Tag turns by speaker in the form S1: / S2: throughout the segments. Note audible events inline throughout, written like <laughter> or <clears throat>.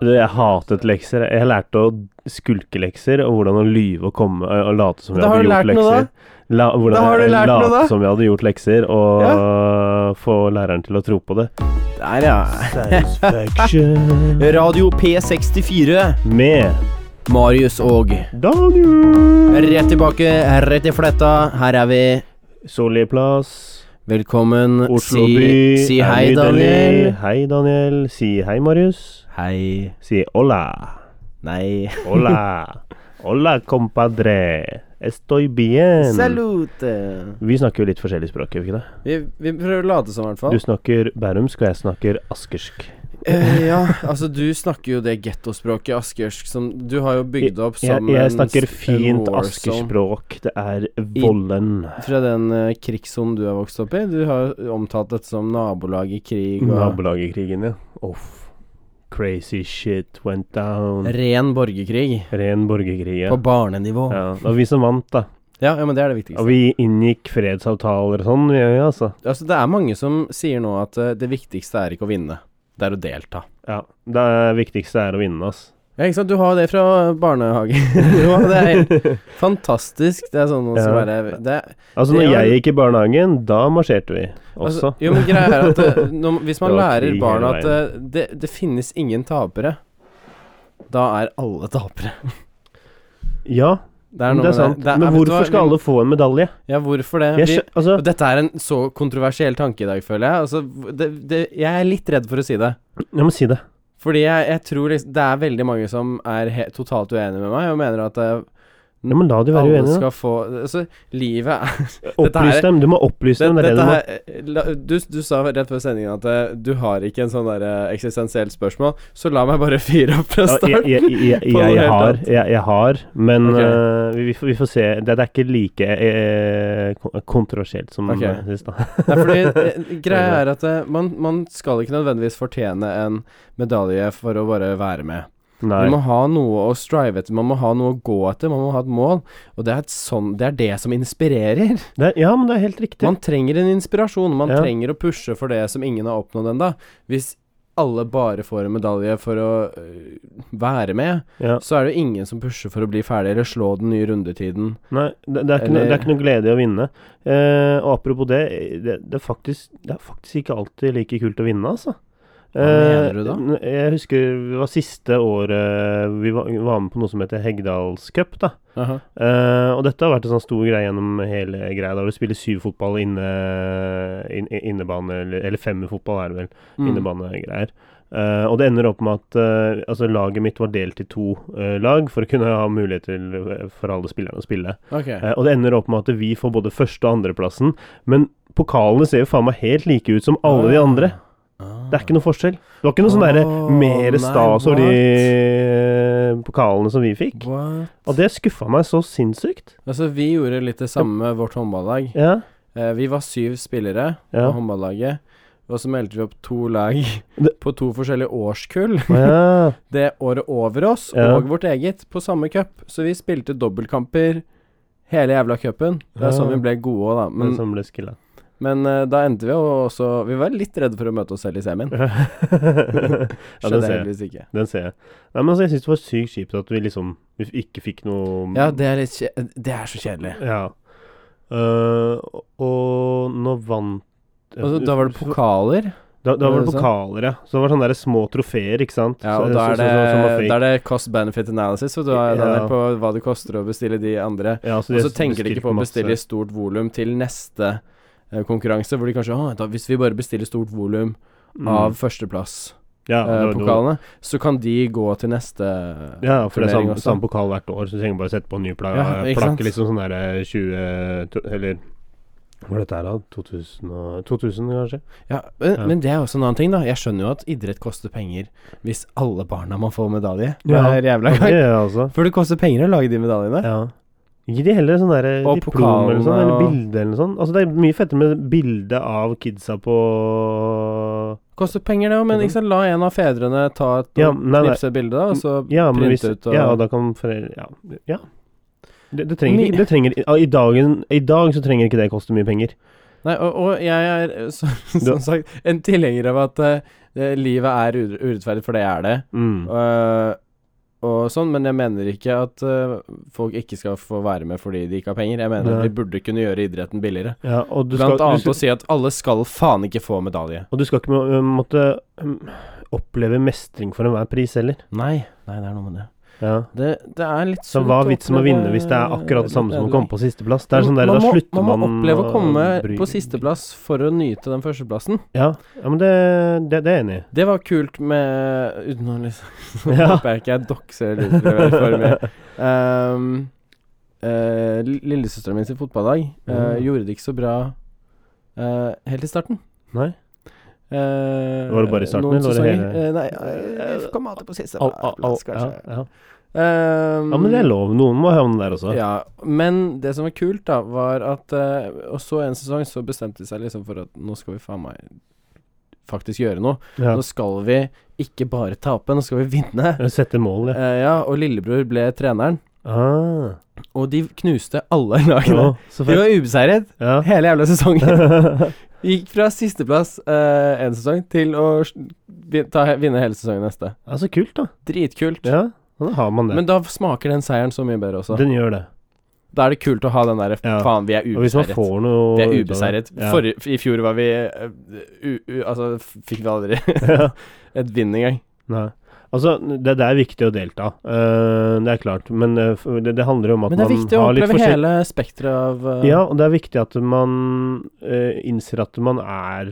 S1: Jeg hatet lekser. Jeg lærte å skulke lekser, og hvordan å lyve og komme og late som jeg
S2: Da har
S1: hadde
S2: du
S1: gjort
S2: lært noe, da.
S1: lekser. La, hvordan
S2: Da har du
S1: jeg
S2: lært noe,
S1: late
S2: da.
S1: som jeg hadde gjort lekser, og få læreren til å tro på det.
S2: Der, ja. Radio P64.
S1: <laughs> Med
S2: Marius og
S1: Daniel
S2: Rett tilbake, rett i fletta. Her er vi.
S1: Solli plass.
S2: Velkommen.
S1: Oslo
S2: si,
S1: by.
S2: Si
S1: er
S2: hei,
S1: nydelig.
S2: Daniel.
S1: Hei, Daniel. Si hei, Marius.
S2: Hei.
S1: Si hola.
S2: Nei.
S1: Hola. Hola, compadre. Estoy bien.
S2: Salute.
S1: Vi snakker jo litt forskjellig språk, gjør vi ikke det?
S2: Vi, vi prøver å late som, i hvert fall.
S1: Du snakker bærumsk, og jeg snakker askersk.
S2: Eh, ja, altså du snakker jo det gettospråket askersk som du har jo bygd opp
S1: Jeg,
S2: som
S1: jeg
S2: en
S1: snakker
S2: s- en
S1: fint
S2: warzone.
S1: askerspråk. Det er volden.
S2: Fra den uh, krigssonen du har vokst opp i. Du har jo omtalt dette som nabolag i krig og
S1: Nabolagerkrigen, ja. Uff. Crazy shit went down.
S2: ren borgerkrig
S1: Ren borgerkrig. Ja.
S2: på barnenivå. Ja.
S1: Ja, det var vi som vant, da.
S2: Ja, men det er det
S1: Og
S2: viktigste.
S1: vi inngikk fredsavtaler og sånn, vi gjør jo altså.
S2: Altså, det er mange som sier nå at eh, det viktigste er ikke å vinne, det er å delta.
S1: Ja. Det viktigste er å vinne, ass.
S2: Ja, ikke sant. Du har jo det fra barnehage. <laughs> Jo, det er
S1: <laughs>
S2: helt fantastisk. Det er sånn å
S1: Ja.
S2: være det er,
S1: Altså, når
S2: Det var-
S1: jeg gikk i barnehagen, da marsjerte vi også.
S2: Altså, jo, men greia er at eh, når, hvis
S1: <laughs>
S2: man
S1: Det var
S2: lærer
S1: krig
S2: barna
S1: hele
S2: at eh, det, det finnes ingen tapere, da er alle tapere.
S1: Ja,
S2: Det
S1: men Mm,
S2: noe
S1: det
S2: med
S1: er sant.
S2: Det er-
S1: Men
S2: vet du hva,
S1: hvorfor skal
S2: vi-
S1: alle få en medalje?
S2: Ja, hvorfor det?
S1: Jeg
S2: Vi,
S1: skjø- altså,
S2: og dette er en så kontroversiell tanke i dag, føler jeg. Altså, det, det, jeg er litt redd for å si det.
S1: jeg må si det.
S2: Fordi jeg, jeg tror liksom, det er veldig mange som er he totalt uenige med meg, og mener at eh,
S1: Ja, men la de være
S2: alle
S1: uenige, da.
S2: skal få Altså, livet er
S1: Opplys
S2: her-
S1: dem. Du må opplyse dem. Det er det
S2: Dette
S1: du må.
S2: her- eh, la- du, du sa rett før sendingen at eh, du har ikke en sånn der eh, eksistensielt spørsmål, så la meg bare <laughs> fyre opp
S1: Ja,
S2: fra
S1: jeg,
S2: starten.
S1: jeg, jeg,
S2: <laughs> på noe
S1: jeg,
S2: helt
S1: har,
S2: annet.
S1: jeg, jeg har, men
S2: Ok.
S1: øh, vi, vi, får, vi får se. Det, det er ikke like eh, kon- kontroversielt som
S2: Ok.
S1: jeg synes, da.
S2: Nei, fordi eh, Greia er at eh, man, man skal ikke nødvendigvis fortjene en medalje for å bare være med.
S1: <laughs> Nei.
S2: Man må ha noe å strive etter, man må ha noe å gå etter, man må ha et mål. Og det er, et sånn, det, er det som inspirerer.
S1: Det, er- ja, men det er helt riktig.
S2: Man trenger en inspirasjon, man
S1: Ja.
S2: trenger å pushe for det som ingen har oppnådd ennå. Hvis alle bare får en medalje for å øh, være med,
S1: Ja.
S2: så er det jo ingen som pusher for å bli ferdig eller slå den nye rundetiden.
S1: Nei, det, det, er ikke noe,
S2: Eller-
S1: det er ikke noe glede i å vinne. Eh, og apropos det, det, det, er faktisk, det er faktisk ikke alltid like kult å vinne, altså.
S2: Hva
S1: Eh,
S2: mener du da?
S1: n- Jeg husker det var siste året vi var, var med på noe som heter Heggdalscup, da. Eh, og dette har vært en sånn stor greie gjennom hele greia, da du spiller syv fotball inne, inn- innebane, eller, eller femmerfotball er det vel,
S2: Mm.
S1: innebanegreier. Eh, og det ender opp med at eh, altså laget mitt var delt i to eh, lag for å kunne ha mulighet til, eh, for alle spillerne å spille.
S2: Ok.
S1: Eh, og det ender opp med at vi får både første- og andreplassen, men pokalene ser jo faen meg helt like ut som alle de andre.
S2: Ah.
S1: Det er ikke noe forskjell. Det var ikke noe sånn derre
S2: Åh,
S1: mer
S2: nei,
S1: stas over de eh, pokalene som vi fikk.
S2: What?
S1: Og det skuffa meg så sinnssykt.
S2: Altså, vi gjorde litt det samme med vårt håndballag.
S1: Ja.
S2: Eh, vi var syv spillere
S1: Ja.
S2: på håndballaget, og så meldte vi opp to lag
S1: Det-
S2: på to forskjellige årskull.
S1: Å ja. <laughs>
S2: Det året over oss
S1: Ja.
S2: og vårt eget på samme cup, så vi spilte dobbeltkamper hele jævla cupen. Det
S1: Ja.
S2: er sånn vi ble gode òg, da.
S1: Den
S2: Men,
S1: som ble <laughs> skilla.
S2: men eh, da endte vi jo også Vi var litt redde for å møte oss selv i semien.
S1: ja, den ser
S2: Skjedde
S1: jeg.
S2: heldigvis ikke.
S1: Den ser jeg. Nei, men altså, jeg syns det var sykt kjipt at vi liksom vi ikke fikk noe
S2: Ja, det er litt kje Det er så kjedelig.
S1: Ja. Eh, og nå vant
S2: Og så, da var det pokaler.
S1: Da, da
S2: Var
S1: var
S2: det
S1: det pokaler, ja. Så det var sånne der små trofeer, ikke sant.
S2: Ja,
S1: Så-
S2: og da
S1: så-
S2: er det,
S1: så- så- som var fake.
S2: da er det cost benefit analysis, og da er det
S1: Ja.
S2: på hva det koster å bestille de andre.
S1: ja, så de
S2: Og så tenker de ikke på å
S1: masse.
S2: bestille i stort volum til neste eh, konkurranse, hvor de kanskje «Å, da, Hvis vi bare bestiller stort volum
S1: Mm.
S2: av eh, førsteplass-pokalene,
S1: ja, det var- det var-
S2: så kan de gå til neste
S1: Ja, for det er
S2: turnering
S1: samme, samme
S2: også.
S1: pokal hvert år, så du trenger bare sette på en ny pla
S2: Ja, ikke sant?
S1: plakke, liksom sånn derre 20 to- Eller hva er dette her, da? 2000, og, 2000 kanskje?
S2: ja, men,
S1: Ja.
S2: men det er også en annen ting, da. Jeg skjønner jo at idrett koster penger hvis alle barna må få medalje
S1: Ja.
S2: hver jævla
S1: Ja,
S2: gang.
S1: det, altså.
S2: For det koster penger å lage de medaljene.
S1: Ja. Gi de heller sånn derre
S2: Og
S1: diplom eller sånn,
S2: pokalene
S1: eller
S2: og-
S1: bilde eller sånn. Altså, det er mye fettere med bilde av kidsa på
S2: Koster penger, det òg, men ikke sant, la en av fedrene ta et
S1: Ja, nei, nei.
S2: knipse et bilde, da, og så
S1: ja, men
S2: printe
S1: hvis,
S2: ut og
S1: Ja, og da kan foreldre Ja. ja. Det, det trenger
S2: Ni-
S1: ikke det trenger, ja, i, dagen, I dag så trenger ikke det koste mye penger.
S2: Nei, og, og jeg er, <laughs> så,
S1: Du-
S2: som sagt, en tilhenger av at eh, eh, livet er ure- urettferdig, for det er det.
S1: Mm.
S2: Eh, og sånn, men jeg mener ikke at eh, folk ikke skal få være med fordi de ikke har penger. Jeg mener
S1: Nei.
S2: at vi burde kunne gjøre idretten billigere.
S1: Ja, og du skal,
S2: Blant
S1: du,
S2: annet
S1: skal-
S2: å si at alle skal faen ikke få medalje.
S1: og du skal ikke må- øh, måtte mm, oppleve mestring for enhver pris heller.
S2: Nei, nei, det er noe med det.
S1: Ja.
S2: Det, det er litt
S1: Så hva er vitsen med å vinne hvis det er akkurat det samme som å komme på sisteplass? Det er sånn der,
S2: man,
S1: da
S2: må,
S1: slutter
S2: man må
S1: man
S2: oppleve å komme
S1: bry-
S2: på sisteplass for å nyte den førsteplassen.
S1: Ja, ja men det, det, det er jeg enig i.
S2: Det var kult med Uten å liksom
S1: <laughs> Ja.
S2: Håper jeg ikke jeg dokser litt for å være for mye. Ehm, eh, l- Lillesøsteren min sin fotballag eh,
S1: Mm.
S2: gjorde det ikke så bra eh, helt i starten.
S1: Nei.
S2: Eh,
S1: Var det bare i starten,
S2: noen
S1: eller var det
S2: sesonger.
S1: hele-
S2: Eh, nei, eh, kom alltid på siste
S1: <laughs> Al, al, al,
S2: plass,
S1: ja,
S2: kanskje.
S1: ja.
S2: Ehm,
S1: ja, men det er lov. Noen må havne der også.
S2: Ja, men det som var kult, da, var at eh, Og så en sesong så bestemte de seg liksom for at nå skal vi faen meg faktisk gjøre noe.
S1: Ja.
S2: Nå skal vi ikke bare tape, nå skal vi vinne.
S1: Sette mål, ja.
S2: Eh, ja, og lillebror ble treneren,
S1: Ah,
S2: <laughs> og de knuste alle <laughs> lagene.
S1: ja, så
S2: De
S1: fett.
S2: var ubeseiret
S1: Ja.
S2: <laughs> hele jævla sesongen.
S1: ja,
S2: Gikk fra sisteplass eh, en sesong til å s- vi- ta, vinne hele sesongen neste.
S1: så kult, da.
S2: Dritkult.
S1: Ja, da har man det.
S2: Men da smaker den seieren så mye bedre også.
S1: Den gjør det.
S2: Da er det kult å ha den derre
S1: Ja.
S2: faen, vi er
S1: Og hvis man
S2: ubeseiret.
S1: får noe ut
S2: Vi
S1: av
S2: er
S1: det-
S2: ubeseiret.
S1: Ja.
S2: Forrige- I fjor var vi eh, u, u, Altså, f- fikk vi aldri
S1: <laughs> Ja.
S2: <laughs> et vinn engang.
S1: Nei. Altså, det, det er viktig å delta. Eh, det er klart. Men eh, f- det, det handler jo om at
S2: Men det er
S1: man
S2: viktig å
S1: har litt
S2: oppleve
S1: forskjell...
S2: hele spekteret av eh,
S1: Ja, og det er viktig at man eh, innser at man er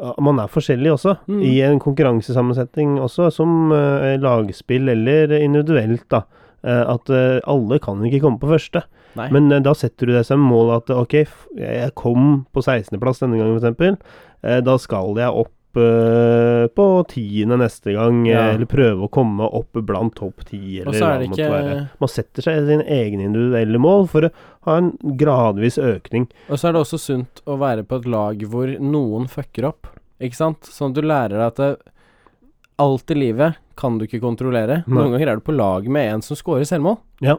S1: at Man er forskjellig også,
S2: Mm.
S1: i en konkurransesammensetning også, som eh, lagspill eller individuelt, da. Eh, at eh, alle kan ikke komme på første,
S2: Nei.
S1: men eh, da setter du deg som mål at ok, f jeg kom på 16.-plass denne gangen, f.eks. Uh, da skal jeg opp eh, på tiende neste gang, eh,
S2: Ja.
S1: eller prøve å komme opp blant topp ti,
S2: Og
S1: eller
S2: så
S1: hva
S2: er det
S1: det måtte være.
S2: ikke
S1: Man setter seg sine egne individuelle mål for å ha en gradvis økning.
S2: Og så er det også sunt å være på et lag hvor noen fucker opp, ikke sant? Sånn at du lærer deg at det, alt i livet kan du ikke kontrollere.
S1: Nei.
S2: Noen ganger er du på lag med en som scorer selvmål.
S1: Ja.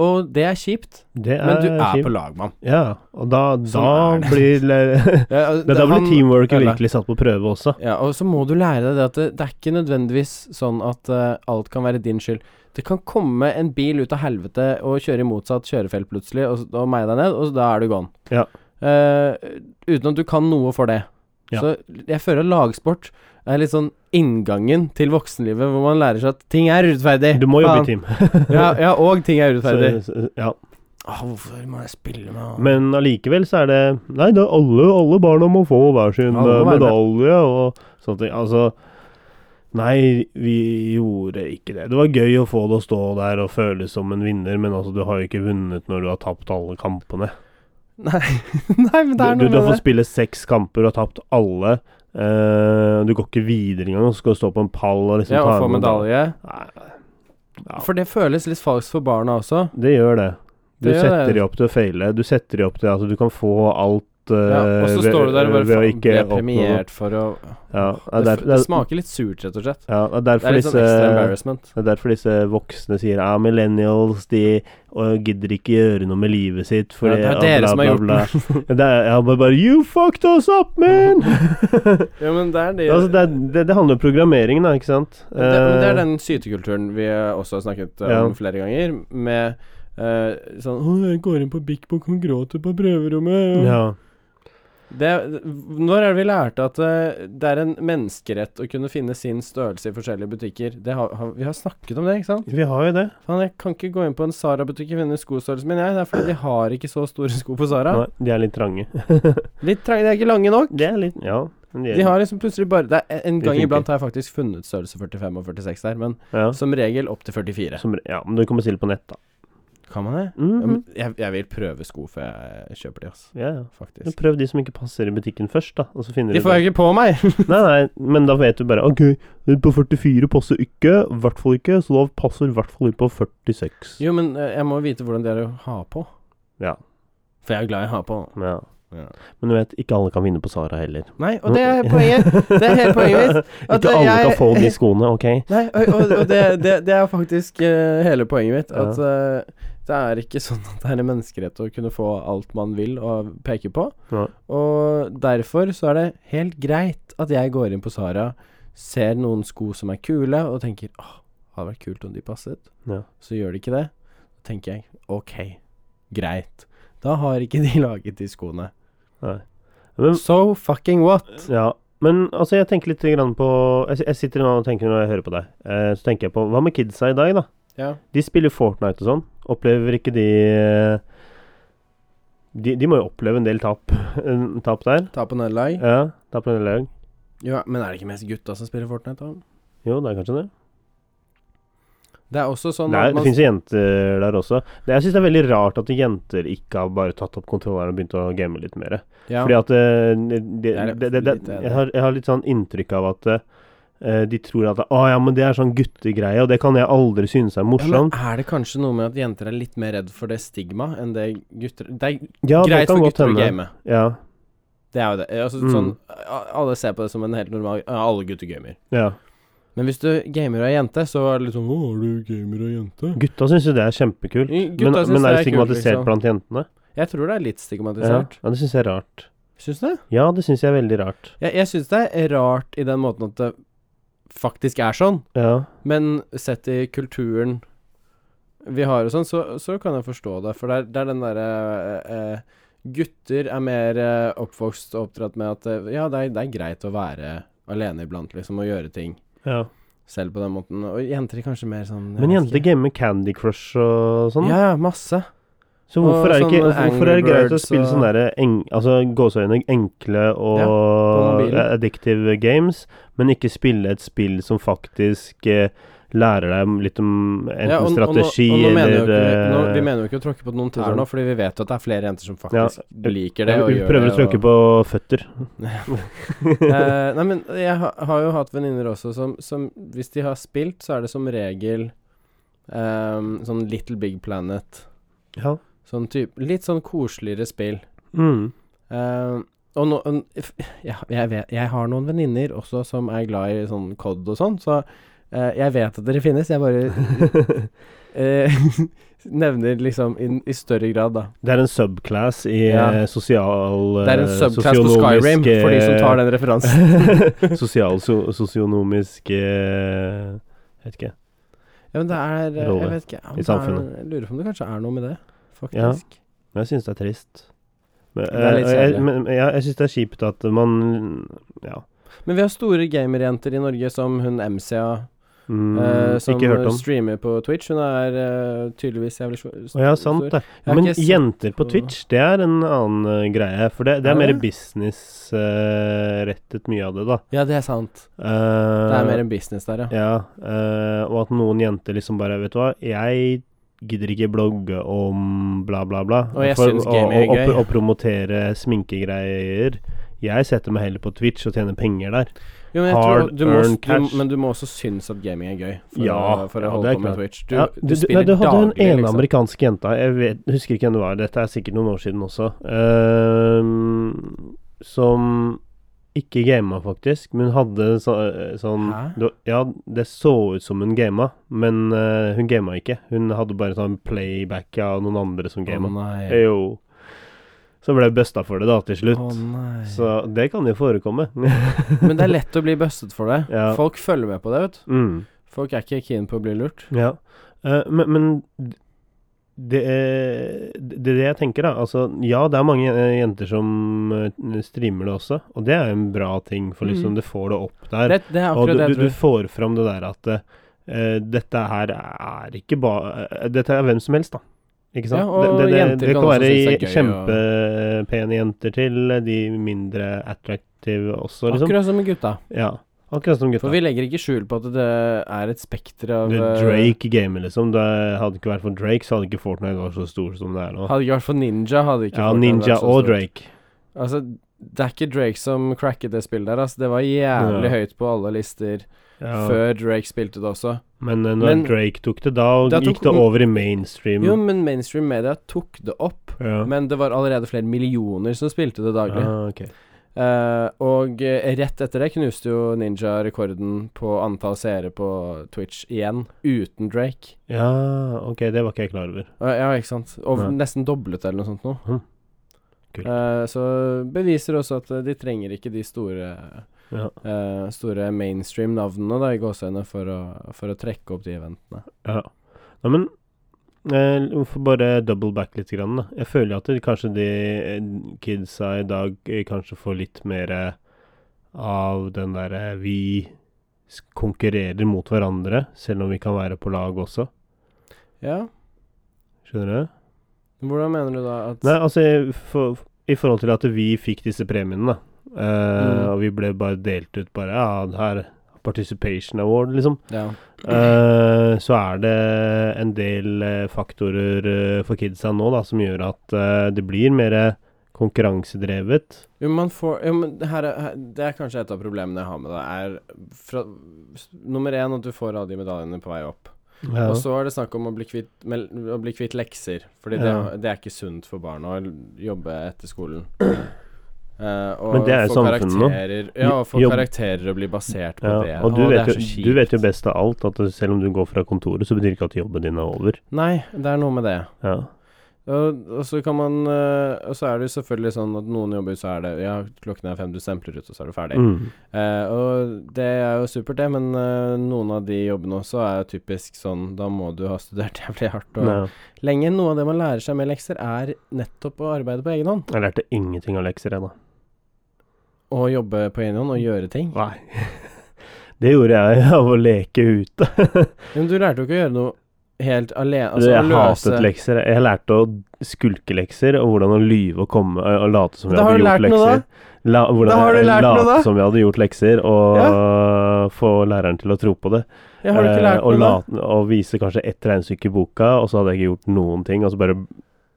S2: Og det er kjipt,
S1: Det er
S2: men du er
S1: kjipt.
S2: på lag, mann.
S1: Ja, og da, da
S2: Sånn er det.
S1: blir
S2: <laughs>
S1: det,
S2: Ja, og
S1: Da blir
S2: han-
S1: teamworket
S2: Eller-
S1: virkelig satt på prøve også.
S2: Ja, og så må du lære deg det at det, det er ikke nødvendigvis sånn at eh, alt kan være din skyld. Det kan komme en bil ut av helvete og kjøre i motsatt kjørefelt plutselig og, s- og meie deg ned, og da er du gone.
S1: Ja.
S2: Eh, uten at du kan noe for det.
S1: Ja.
S2: Så jeg føler at lagsport er litt sånn inngangen til voksenlivet, hvor man lærer seg at ting er urettferdig.
S1: Du må jobbe i
S2: Eh, Faen.
S1: team.
S2: ja, ja, og ting er urettferdig.
S1: <laughs> Så- så- ja.
S2: Åh, hvorfor må jeg spille med han?
S1: Men allikevel så er det Nei, da alle, alle barna må få hver sin
S2: Alle må
S1: eh,
S2: være med.
S1: medalje og sånne ting. Altså Nei, vi gjorde ikke det. Det var gøy å få det å stå der og føles som en vinner, men altså, du har jo ikke vunnet når du har tapt alle kampene.
S2: Nei, <laughs> Nei, men det er
S1: Du, du,
S2: noe
S1: du
S2: med
S1: får
S2: det.
S1: spille seks kamper og har tapt alle. Eh, du går ikke videre engang, og så skal du stå på en pall og liksom
S2: Ja, å
S1: ta
S2: få
S1: en
S2: medalje.
S1: Nei, Ja.
S2: For det føles litt falskt for barna også.
S1: det gjør det. Du
S2: Det gjør
S1: setter
S2: det.
S1: de opp til å feile. Du setter de opp til at du kan få alt eh,
S2: Ja, og så
S1: ved-
S2: står du der og bare
S1: ved å
S2: faen,
S1: ikke
S2: ble
S1: oppnå noe.
S2: premiert for å
S1: Ja, det,
S2: det,
S1: er
S2: f-
S1: derfor-
S2: det
S1: det, er-
S2: smaker litt surt, rett og slett.
S1: ja, det er
S2: Det
S1: derfor
S2: er litt sånn ekstra
S1: disse
S2: embarrassment.
S1: det er derfor disse voksne sier ja, millennials de og gidder ikke gjøre noe med livet sitt fordi
S2: Ja, det er dere som har gjort
S1: det. det er, ja, bare, bare You fucked us up,
S2: <laughs>
S1: man!
S2: Ja, men det er det,
S1: altså, det, er, det, det handler om programmeringen, da, ikke sant?
S2: Men det, men
S1: Eh,
S2: det er den sytekulturen vi eh, også har snakket eh, om
S1: Ja.
S2: flere ganger, med eh, sånn Å, jeg går inn på Big Book og gråter på prøverommet.
S1: Eh, ja.
S2: Det, når er det vi lærte at eh, det er en menneskerett å kunne finne sin størrelse i forskjellige butikker? Det har, har, vi har snakket om det, ikke sant?
S1: Vi har jo det.
S2: Faen, jeg kan ikke gå inn på en Sara-butikk og finne skostørrelsen min, jeg. Det er fordi de har ikke så store sko på Sara.
S1: Nei, de er litt trange.
S2: Litt trang, de er ikke lange nok.
S1: Det er litt Ja. men
S2: De har liksom plutselig bare det er En
S1: De
S2: gang
S1: funker.
S2: iblant har jeg faktisk funnet størrelse 45 og 46 der, men
S1: ja.
S2: som regel opp til 44.
S1: Som, ja, men du kommer stille på nett, da.
S2: Kan man det?
S1: Mhm.
S2: Ja, men jeg, jeg vil prøve sko før jeg kjøper de, ass.
S1: Ja, ja. Men
S2: Faktisk.
S1: Prøv de som ikke passer i butikken først, da. Og så finner
S2: De
S1: du
S2: får
S1: ut-
S2: jeg ikke på <laughs> meg!
S1: Nei, nei, men da vet du bare OK, den på 44 passer ikke, i hvert fall ikke, så da passer i hvert fall ikke på 46.
S2: Jo, men eh, jeg må vite hvordan de er å ha på.
S1: Ja.
S2: For jeg er glad i å ha på.
S1: Ja.
S2: Ja.
S1: Men du vet, ikke alle kan vinne på Sara heller.
S2: Nei, og det er <laughs> poenget. <laughs> Det er hele poenget mitt. At
S1: <laughs> ikke alle
S2: jeg-
S1: kan få de skoene, OK?
S2: Nei, og, og, og det, det, det er faktisk eh, hele poenget mitt. At eh, Det er ikke sånn at det er en menneskerett å kunne få alt man vil og peke på.
S1: Nei.
S2: Og derfor så er det helt greit at jeg går inn på Sara, ser noen sko som er kule, og tenker åh, hadde vært kult om de passet.
S1: Ja.
S2: Så gjør de ikke det. Da tenker jeg ok, greit. Da har ikke de <laughs> laget de skoene.
S1: Nei. Men,
S2: So fucking what?
S1: ja. Men altså, jeg tenker litt grann på Jeg, jeg sitter nå og tenker når jeg hører på deg, eh, så tenker jeg på Hva med kidsa i dag, da?
S2: Ja.
S1: De spiller Fortnite og sånn. Opplever ikke de eh, De, de må jo oppleve en del tap, en tap der.
S2: Ta på nederlag.
S1: Ja, tap en del lag.
S2: Ja, men er det ikke mest gutta som spiller Fortnite, da?
S1: Jo, det er kanskje det.
S2: Det er også sånn
S1: Det,
S2: at
S1: er, det
S2: man
S1: finnes jo jenter der også. Det, jeg syns det er veldig rart at jenter ikke har bare tatt opp kontrolleren og begynt å game litt mer.
S2: ja.
S1: Fordi at eh, det, det,
S2: er
S1: det, det,
S2: litt enig.
S1: jeg, har, jeg har litt sånn inntrykk av at eh, de tror at Å ja, men det er sånn guttegreie, og det kan jeg aldri synes er
S2: Ja, men
S1: morsomt.
S2: er det kanskje noe med at jenter er litt mer redd for det stigmaet enn det gutter Det er
S1: Ja, det
S2: greit
S1: kan
S2: for
S1: godt
S2: gutter å
S1: hende.
S2: game.
S1: Ja,
S2: Det er jo det. Altså,
S1: Mm.
S2: sånn, a- alle ser på det som en helt normal ja, Alle gutter gamer.
S1: ja.
S2: Men hvis du gamer og er jente, så er det litt sånn Å, er du gamer og jente?
S1: Gutta syns jo det er kjempekult.
S2: Mm, Gutta
S1: Men,
S2: synes
S1: men er det
S2: kult,
S1: stigmatisert
S2: liksom.
S1: blant jentene?
S2: Jeg tror det er litt
S1: Ja,
S2: stigmatisert.
S1: ja, det syns jeg er rart.
S2: Syns du det?
S1: Ja, det syns jeg er veldig rart.
S2: Jeg, jeg syns det er rart i den måten at det faktisk er sånn,
S1: Ja,
S2: men sett i kulturen vi har og sånn, så, så kan jeg forstå det. For det er, det er den derre eh, eh, Gutter er mer eh, oppvokst og oppdratt med at eh, ja, det er, det er greit å være alene iblant, liksom, og gjøre ting.
S1: ja.
S2: selv på den måten. Og jenter er kanskje mer sånn jeg
S1: Men
S2: vet
S1: jenter
S2: ikke.
S1: gamer Candy Crush og sånn.
S2: Ja, ja, masse.
S1: Så hvorfor
S2: Og
S1: er, det ikke,
S2: sånne
S1: hvorfor er det
S2: Angry
S1: greit å
S2: Birds
S1: spille
S2: og-
S1: sånne der eng, altså, gåseøyne enkle og eh,
S2: Ja, mobilen.
S1: addictive games, men ikke spille et spill som faktisk eh, lærer deg litt om enten
S2: ja, og- og nå-
S1: strategi
S2: og nå mener jo
S1: eller
S2: ikke, nå, Vi
S1: eh,
S2: mener jo ikke å tråkke på noen tær nå, fordi vi vet jo at det er flere jenter som faktisk liker det.
S1: ja,
S2: og
S1: Vi
S2: gjør
S1: prøver
S2: det,
S1: å tråkke
S2: og-
S1: på føtter.
S2: Eh, nei, men jeg ha, har jo hatt venninner også som, som Hvis de har spilt, så er det som regel ehm, sånn Little Big Planet.
S1: Ja.
S2: Sånn type Litt sånn koseligere spill.
S1: Mm.
S2: Eh, og nå, en- f- ja, jeg, vet, jeg har noen venninner også som er glad i sånn COD og sånn, så eh, jeg vet at dere finnes. Jeg bare
S1: <laughs>
S2: eh, <laughs> nevner liksom in, i større grad, da.
S1: Det er en subclass i
S2: Ja.
S1: eh, sosial
S2: Det er en
S1: eh,
S2: subclass på Skyrim,
S1: sosionomisk,
S2: for de som
S1: eh,
S2: tar den referansen.
S1: <laughs> sosial so, sosionomisk eh, Vet ikke.
S2: Ja, men det er eh,
S1: Rolle
S2: Jeg vet ikke. ja, men
S1: i
S2: det er-
S1: samfunnet.
S2: Jeg lurer på om det kanskje er noe med det, faktisk.
S1: Men jeg syns det er trist. Men,
S2: Det er
S1: eh,
S2: litt
S1: og jeg,
S2: kjedelig.
S1: men, men jeg, jeg syns det er kjipt at man Ja.
S2: Men vi har store gamerjenter i Norge, som hun MCA,
S1: Mm,
S2: eh, som
S1: ikke hørt om.
S2: streamer på Twitch. Hun er eh, tydeligvis jævlig stor.
S1: Å ja, sant det.
S2: Jeg har
S1: Men
S2: ikke sett
S1: jenter på
S2: på-
S1: Twitch, det er en annen eh, greie. For det, det
S2: Er
S1: er mer
S2: det?
S1: businessrettet mye av det, da.
S2: Ja, det er sant. Det
S1: Eh,
S2: er mer en business der, ja.
S1: Ja, eh, og at noen jenter liksom bare Vet du hva, jeg gidder ikke blogge om bla, bla, bla.
S2: Og jeg synes
S1: å-
S2: gaming er
S1: å- å-
S2: gøy.
S1: Å promotere sminkegreier. Jeg setter meg heller på Twitch og tjener penger der.
S2: Jo, men jeg
S1: Hard
S2: tror, du må,
S1: earned
S2: du,
S1: cash.
S2: Men du må også synes at gaming er gøy for,
S1: Ja,
S2: å, for
S1: ja,
S2: å
S1: det
S2: holde
S1: er
S2: på med
S1: klart.
S2: Twitch. Du,
S1: Du, ja, du,
S2: du,
S1: du, nei,
S2: spiller
S1: du hadde hun
S2: daglig,
S1: ene
S2: liksom.
S1: amerikanske jenta Jeg vet, husker ikke hvem det var, dette er sikkert noen år siden også. ehm, som ikke gama, faktisk, men hun hadde så, sånn
S2: Hæ?
S1: det var- Ja, det så ut som hun gama, men eh, hun gama ikke. Hun hadde bare sånn playback av noen andre som
S2: Å
S1: gama.
S2: nei.
S1: Jo. Så ble jeg busta for det, da, til slutt.
S2: Å, nei.
S1: Så det kan jo forekomme. <laughs>
S2: Men det er lett å bli bustet for det.
S1: Ja.
S2: Folk følger med på det, vet du.
S1: mm.
S2: Folk er ikke keen på å bli lurt.
S1: Ja, eh, men, men d- det, er- det er det jeg tenker, da. Altså, ja, det er mange eh, jenter som eh, streamer det også, og det er jo en bra ting, for liksom,
S2: Mm.
S1: det får det opp der.
S2: Det, det er
S1: og du,
S2: akkurat det jeg
S1: du, du
S2: tror.
S1: får fram det der at eh, dette her er ikke bare Dette er hvem som helst, da. Ikke sant?
S2: Ja, og
S1: det, det,
S2: jenter
S1: det, det
S2: kan
S1: kan
S2: også
S1: være
S2: synes det er gøy å-
S1: kjempepene jenter til eh, de mindre attraktive også, liksom.
S2: Akkurat som med gutta.
S1: Ja. Akkurat som gutta.
S2: For vi legger ikke skjul på at det er et spekter av
S1: Du,
S2: eh,
S1: Drake gamer, liksom. Det hadde ikke vært for Drake, så hadde ikke Fortnite vært så stor som det er nå.
S2: Hadde det ikke vært for Ninja, hadde ikke
S1: Ja,
S2: Fortnite vært
S1: Ninja
S2: så
S1: og
S2: stort.
S1: Drake.
S2: Altså, det er ikke Drake som cracket det spillet der, altså. Det var jævlig høyt på alle lister
S1: Ja.
S2: før Drake spilte det også.
S1: Men eh, når
S2: Men-
S1: Drake tok det, da
S2: Da tok-
S1: gikk det over i mainstream.
S2: Jo, men mainstream media tok det opp.
S1: ja.
S2: Men det var allerede flere millioner som spilte det daglig.
S1: Ah, ok.
S2: Eh, og eh, rett etter det knuste jo Ninja rekorden på antall seere på Twitch igjen, uten Drake.
S1: Ja, ok, det var ikke jeg klar over.
S2: Eh, ja, ikke sant. Og
S1: Nei.
S2: nesten doblet eller noe sånt nå.
S1: Hm. Kult.
S2: Eh, så beviser også at eh, de trenger ikke de store
S1: Ja.
S2: eh, Store mainstream-navnene da i gåseøynene for, å- for å trekke opp de eventene.
S1: Ja. Nei, men eh, Hvorfor bare double back litt? Grann, da? Jeg føler at det, kanskje de eh, kidsa i dag eh, kanskje får litt mer eh, av den derre Vi s- konkurrerer mot hverandre, selv om vi kan være på lag også.
S2: Ja.
S1: Skjønner du?
S2: Hvordan mener du da at
S1: Nei, altså i for, I forhold til at vi fikk disse premiene, da. Eh,
S2: Mm.
S1: Og vi ble bare delt ut bare Ja, her Participation Award, liksom.
S2: Ja.
S1: Eh, så er det en del eh, faktorer eh, for kidsa nå da, som gjør at eh, det blir mer eh, konkurransedrevet.
S2: Jo, men man får jo, men her, er- her, Det er kanskje et av problemene jeg har med det, er fra, s- nummer én at du får alle de medaljene på vei opp.
S1: Ja.
S2: Og så er det snakk om å bli kvitt, mel- å bli kvitt lekser, fordi
S1: Ja.
S2: det, det er ikke sunt for barn å jobbe etter skolen. Eh, og
S1: Men det er jo
S2: få
S1: samfunnet nå.
S2: karakterer- Ja, og få
S1: Jobb-
S2: karakterer å bli basert på det.
S1: og du
S2: Å, det
S1: vet,
S2: er
S1: jo,
S2: så
S1: du vet jo
S2: kjipt.
S1: best av alt at selv om du går fra kontoret, så betyr ikke at jobben din er over.
S2: Nei, det er noe med det.
S1: Ja.
S2: Og, og så kan man eh, Og så er det jo selvfølgelig sånn at noen jobber, så er det Ja, klokken er fem, du stempler ut, og så er du ferdig.
S1: Mm.
S2: Eh, og det er jo supert, det, men eh, noen av de jobbene også er jo typisk sånn Da må du ha studert <laughs> jævlig hardt. Og
S1: Nei.
S2: lenge noe av det man lærer seg med lekser, er nettopp å arbeide på egen hånd.
S1: Jeg lærte ingenting av lekser ennå.
S2: Og jobbe på egen hånd og gjøre ting.
S1: Nei. <laughs> Det gjorde jeg av å leke ute. <laughs>
S2: Men du lærte jo ikke å gjøre noe helt alene.
S1: Du,
S2: Altså,
S1: jeg
S2: å løse
S1: hatet lekser. Jeg lærte å skulke lekser, og hvordan å lyve og komme og late som jeg
S2: Da
S1: hadde
S2: har du
S1: gjort
S2: lært
S1: lekser.
S2: noe, da.
S1: La, hvordan
S2: Da har du
S1: jeg
S2: lært
S1: late
S2: noe, da.
S1: som jeg hadde gjort lekser, og få læreren til å tro på det.
S2: Jeg har du ikke
S1: Eh,
S2: lært
S1: og,
S2: noe. da?
S1: la- og vise kanskje ett regnestykke i boka, og så hadde jeg ikke gjort noen ting. Og så bare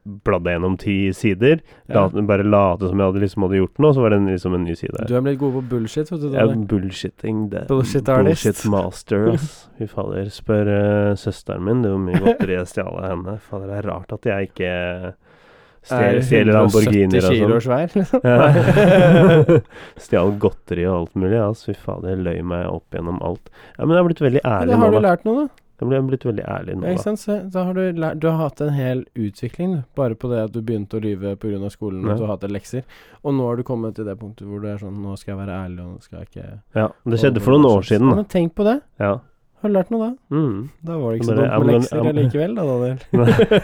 S1: bladde jeg gjennom ti sider.
S2: Ja.
S1: Late- bare late som jeg hadde, liksom hadde gjort noe, og så var det en- liksom en ny side.
S2: Du er blitt god på bullshit, vet du.
S1: Ja,
S2: Daniel.
S1: bullshitting det.
S2: Bullshit artist.
S1: Bullshit master, ass. Fy fader. Spør eh, søsteren min, det er hvor mye godteri jeg stjal av henne. Fader, det er rart at jeg ikke
S2: Er
S1: stjeler stjeler Lamborghinier
S2: 170 kilo
S1: og sånn.
S2: svær. liksom.
S1: Ja. <laughs> Stjal godteri og alt mulig, ass. Fy fader, jeg løy meg opp gjennom alt. Ja, men jeg har blitt veldig
S2: <laughs> Da
S1: ærlig nå,
S2: har du
S1: da.
S2: lært noe, da.
S1: Jeg ble- jeg har blitt veldig ærlig
S2: Ja,
S1: nå,
S2: ikke
S1: da.
S2: sant? Så da har du, lært, du har hatt en hel utvikling du, bare på det at du begynte å lyve pga. skolen og
S1: Ja.
S2: at du har hatt lekser. Og nå har du kommet til det punktet hvor du er sånn Nå skal jeg være ærlig, og nå skal jeg ikke
S1: Ja, det skjedde for noen år siden,
S2: Ja,
S1: da.
S2: Men tenk på det.
S1: Ja.
S2: Har du lært noe da?
S1: Mm.
S2: <laughs>
S1: <laughs>
S2: Da var det ikke så
S1: Bare,
S2: dumt med
S1: I'm gonna-
S2: lekser
S1: I'm-
S2: allikevel, da,
S1: <laughs>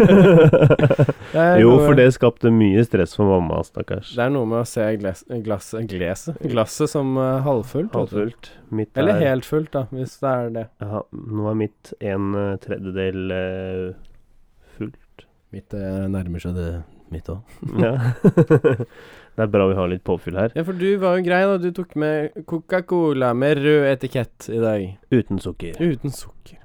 S2: Daniel. Det er
S1: jo,
S2: noe-
S1: for det skapte mye stress for mamma, stakkars.
S2: Det er noe med å se glass, glasset Gleset? Glasset som eh, halvfullt. vet du.
S1: Halvfullt. Mitt er
S2: Eller helt fullt, da, hvis det er det.
S1: Ja, nå er mitt en eh, tredjedel eh,
S2: <laughs>
S1: fullt.
S2: Mitt
S1: eh,
S2: nærmer seg det mitt òg.
S1: Ja. <laughs> det er bra vi har litt påfyll her.
S2: Ja, for du var jo grei, da. Du tok med Coca-Cola med rød etikett i dag.
S1: Uten
S2: <laughs>
S1: sukker.
S2: Uten sukker.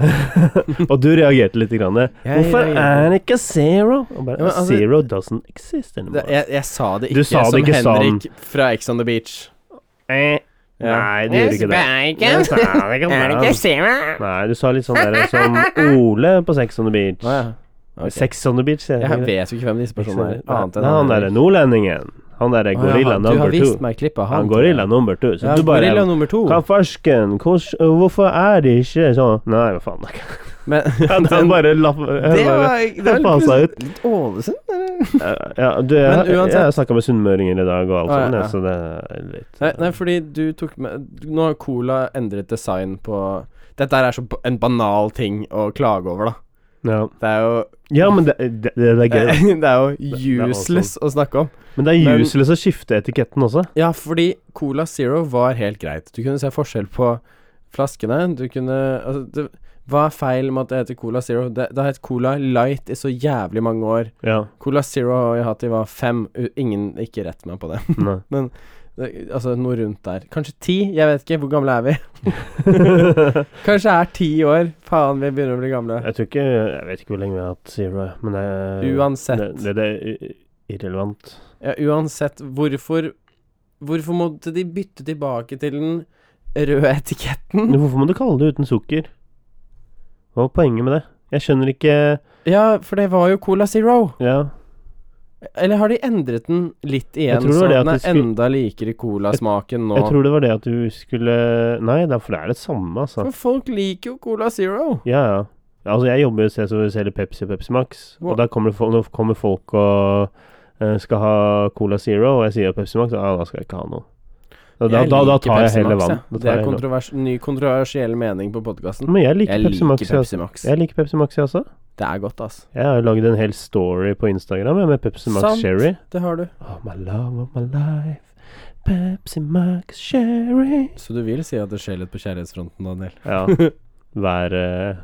S1: Og du reagerte litt. Grann.
S2: Jeg
S1: Hvorfor
S2: reagerer.
S1: er det ikke zero? Og bare,
S2: Ja, men altså-
S1: zero doesn't exist
S2: det,
S1: anymore.
S2: jeg, jeg sa det
S1: Du
S2: ikke
S1: sa det
S2: som
S1: ikke
S2: Henrik fra Ex on the Beach.
S1: Eh, Nei, det gjør ikke det.
S3: Bacon.
S1: Du sa det ikke
S3: <laughs> Er det
S1: bra.
S3: ikke Sarah?
S1: Nei, du sa litt sånn der som Ole på Sex on the Beach.
S2: Å ja. Ok.
S1: Sex on the Beach, sier
S2: Jeg
S1: ikke det?
S2: vet jo ikke hvem disse
S1: Sex on the
S2: personene er.
S1: Beach.
S2: Annet enn
S1: Nei, han derre nordlendingen. Han derre
S2: Å, ja,
S1: gorilla
S2: han-
S1: number
S2: Du har vist
S1: two.
S2: meg klippet
S1: Han gorilla number two. Så
S2: Ja,
S1: du bare
S2: gorilla nummer to.
S1: Hva farsken? Hvordan- øh, Hvorfor er det ikke sånn? Nei, hva faen. <laughs>
S2: Men
S1: Han
S2: den-
S1: bare lapp...
S2: det
S1: Bare,
S2: var, det var
S1: Faen seg ut.
S2: Litt Ålesund, eller?
S1: ja, du,
S2: Men
S1: jeg,
S2: uansett-
S1: jeg har snakka med sunnmøringer i dag og alt
S2: Ah, ja,
S1: sånt,
S2: ja.
S1: ja, så det er litt
S2: Nei, nei, fordi du tok med Nå har Cola endret design på Dette her er så ba- en banal ting å klage over, da.
S1: ja.
S2: Det er jo
S1: ja, men det, det, det, det er gøy.
S2: <laughs> Det er
S1: det
S2: jo
S1: er
S2: useless å snakke om.
S1: Men det
S2: Eh, Men-
S1: er useless å skifte etiketten også.
S2: Ja, fordi Cola Zero var helt greit. Du kunne se forskjell på flaskene. Du kunne Altså, det, hva er feil med at det heter Cola Zero? Det, det har hett Cola Light i så jævlig mange år.
S1: Ja.
S2: Cola Zero har jeg hatt i var fem. U- Ingen ikke rett meg på det. <laughs>
S1: Nei.
S2: det. Altså noe rundt der. Kanskje ti? Jeg vet ikke. Hvor gamle er vi? <laughs> Kanskje jeg er ti år. Faen, vi begynner å bli gamle.
S1: Jeg tror ikke Jeg vet ikke hvor lenge vi har hatt zero, jeg, men det er
S2: Uansett.
S1: Det, det, det er irrelevant.
S2: Ja, uansett, hvorfor Hvorfor måtte de bytte tilbake til den røde etiketten?
S1: Men Hvorfor må du kalle det uten sukker? Hva var poenget med det? Jeg skjønner ikke
S2: Ja, for det var jo Cola Zero.
S1: Ja.
S2: Eller har de endret den litt igjen,
S1: Jeg tror det
S2: så
S1: var det
S2: den
S1: at
S2: er
S1: de skulle-
S2: enda likere colasmaken nå?
S1: Jeg tror det var det at du skulle Nei, det er, for det er det samme, altså.
S2: For folk liker jo Cola Zero.
S1: Ja, ja. Altså, jeg jobber jo et sted som selger Pepsi og Pepsi Max, og
S2: Hva-
S1: da kommer, det fol- nå kommer folk og eh, skal ha Cola Zero, og jeg sier Pepsi Max, ja, da skal jeg ikke ha noe. Da, da,
S2: Jeg
S1: da, da
S2: liker
S1: tar jeg
S2: Pepsi
S1: heller
S2: Max,
S1: vann.
S2: jeg.
S1: Da tar
S2: Det
S1: jeg
S2: er
S1: heller vann.
S2: kontrovers, ny kontroversiell mening på podkasten.
S1: Men jeg liker
S2: Jeg
S1: Pepsi Max. jeg, altså.
S2: liker Pepsi Max.
S1: Jeg liker Pepsi Max, jeg også.
S2: Det er godt, ass.
S1: Jeg har jo lagd en hel story på Instagram jeg, med Pepsi Max
S2: Sant.
S1: Sherry.
S2: Det har du.
S1: Oh, my love of my life. Pepsi Max Sherry.
S2: Så du vil si at det skjer litt på kjærlighetsfronten, Daniel?
S1: Ja. Hver eh,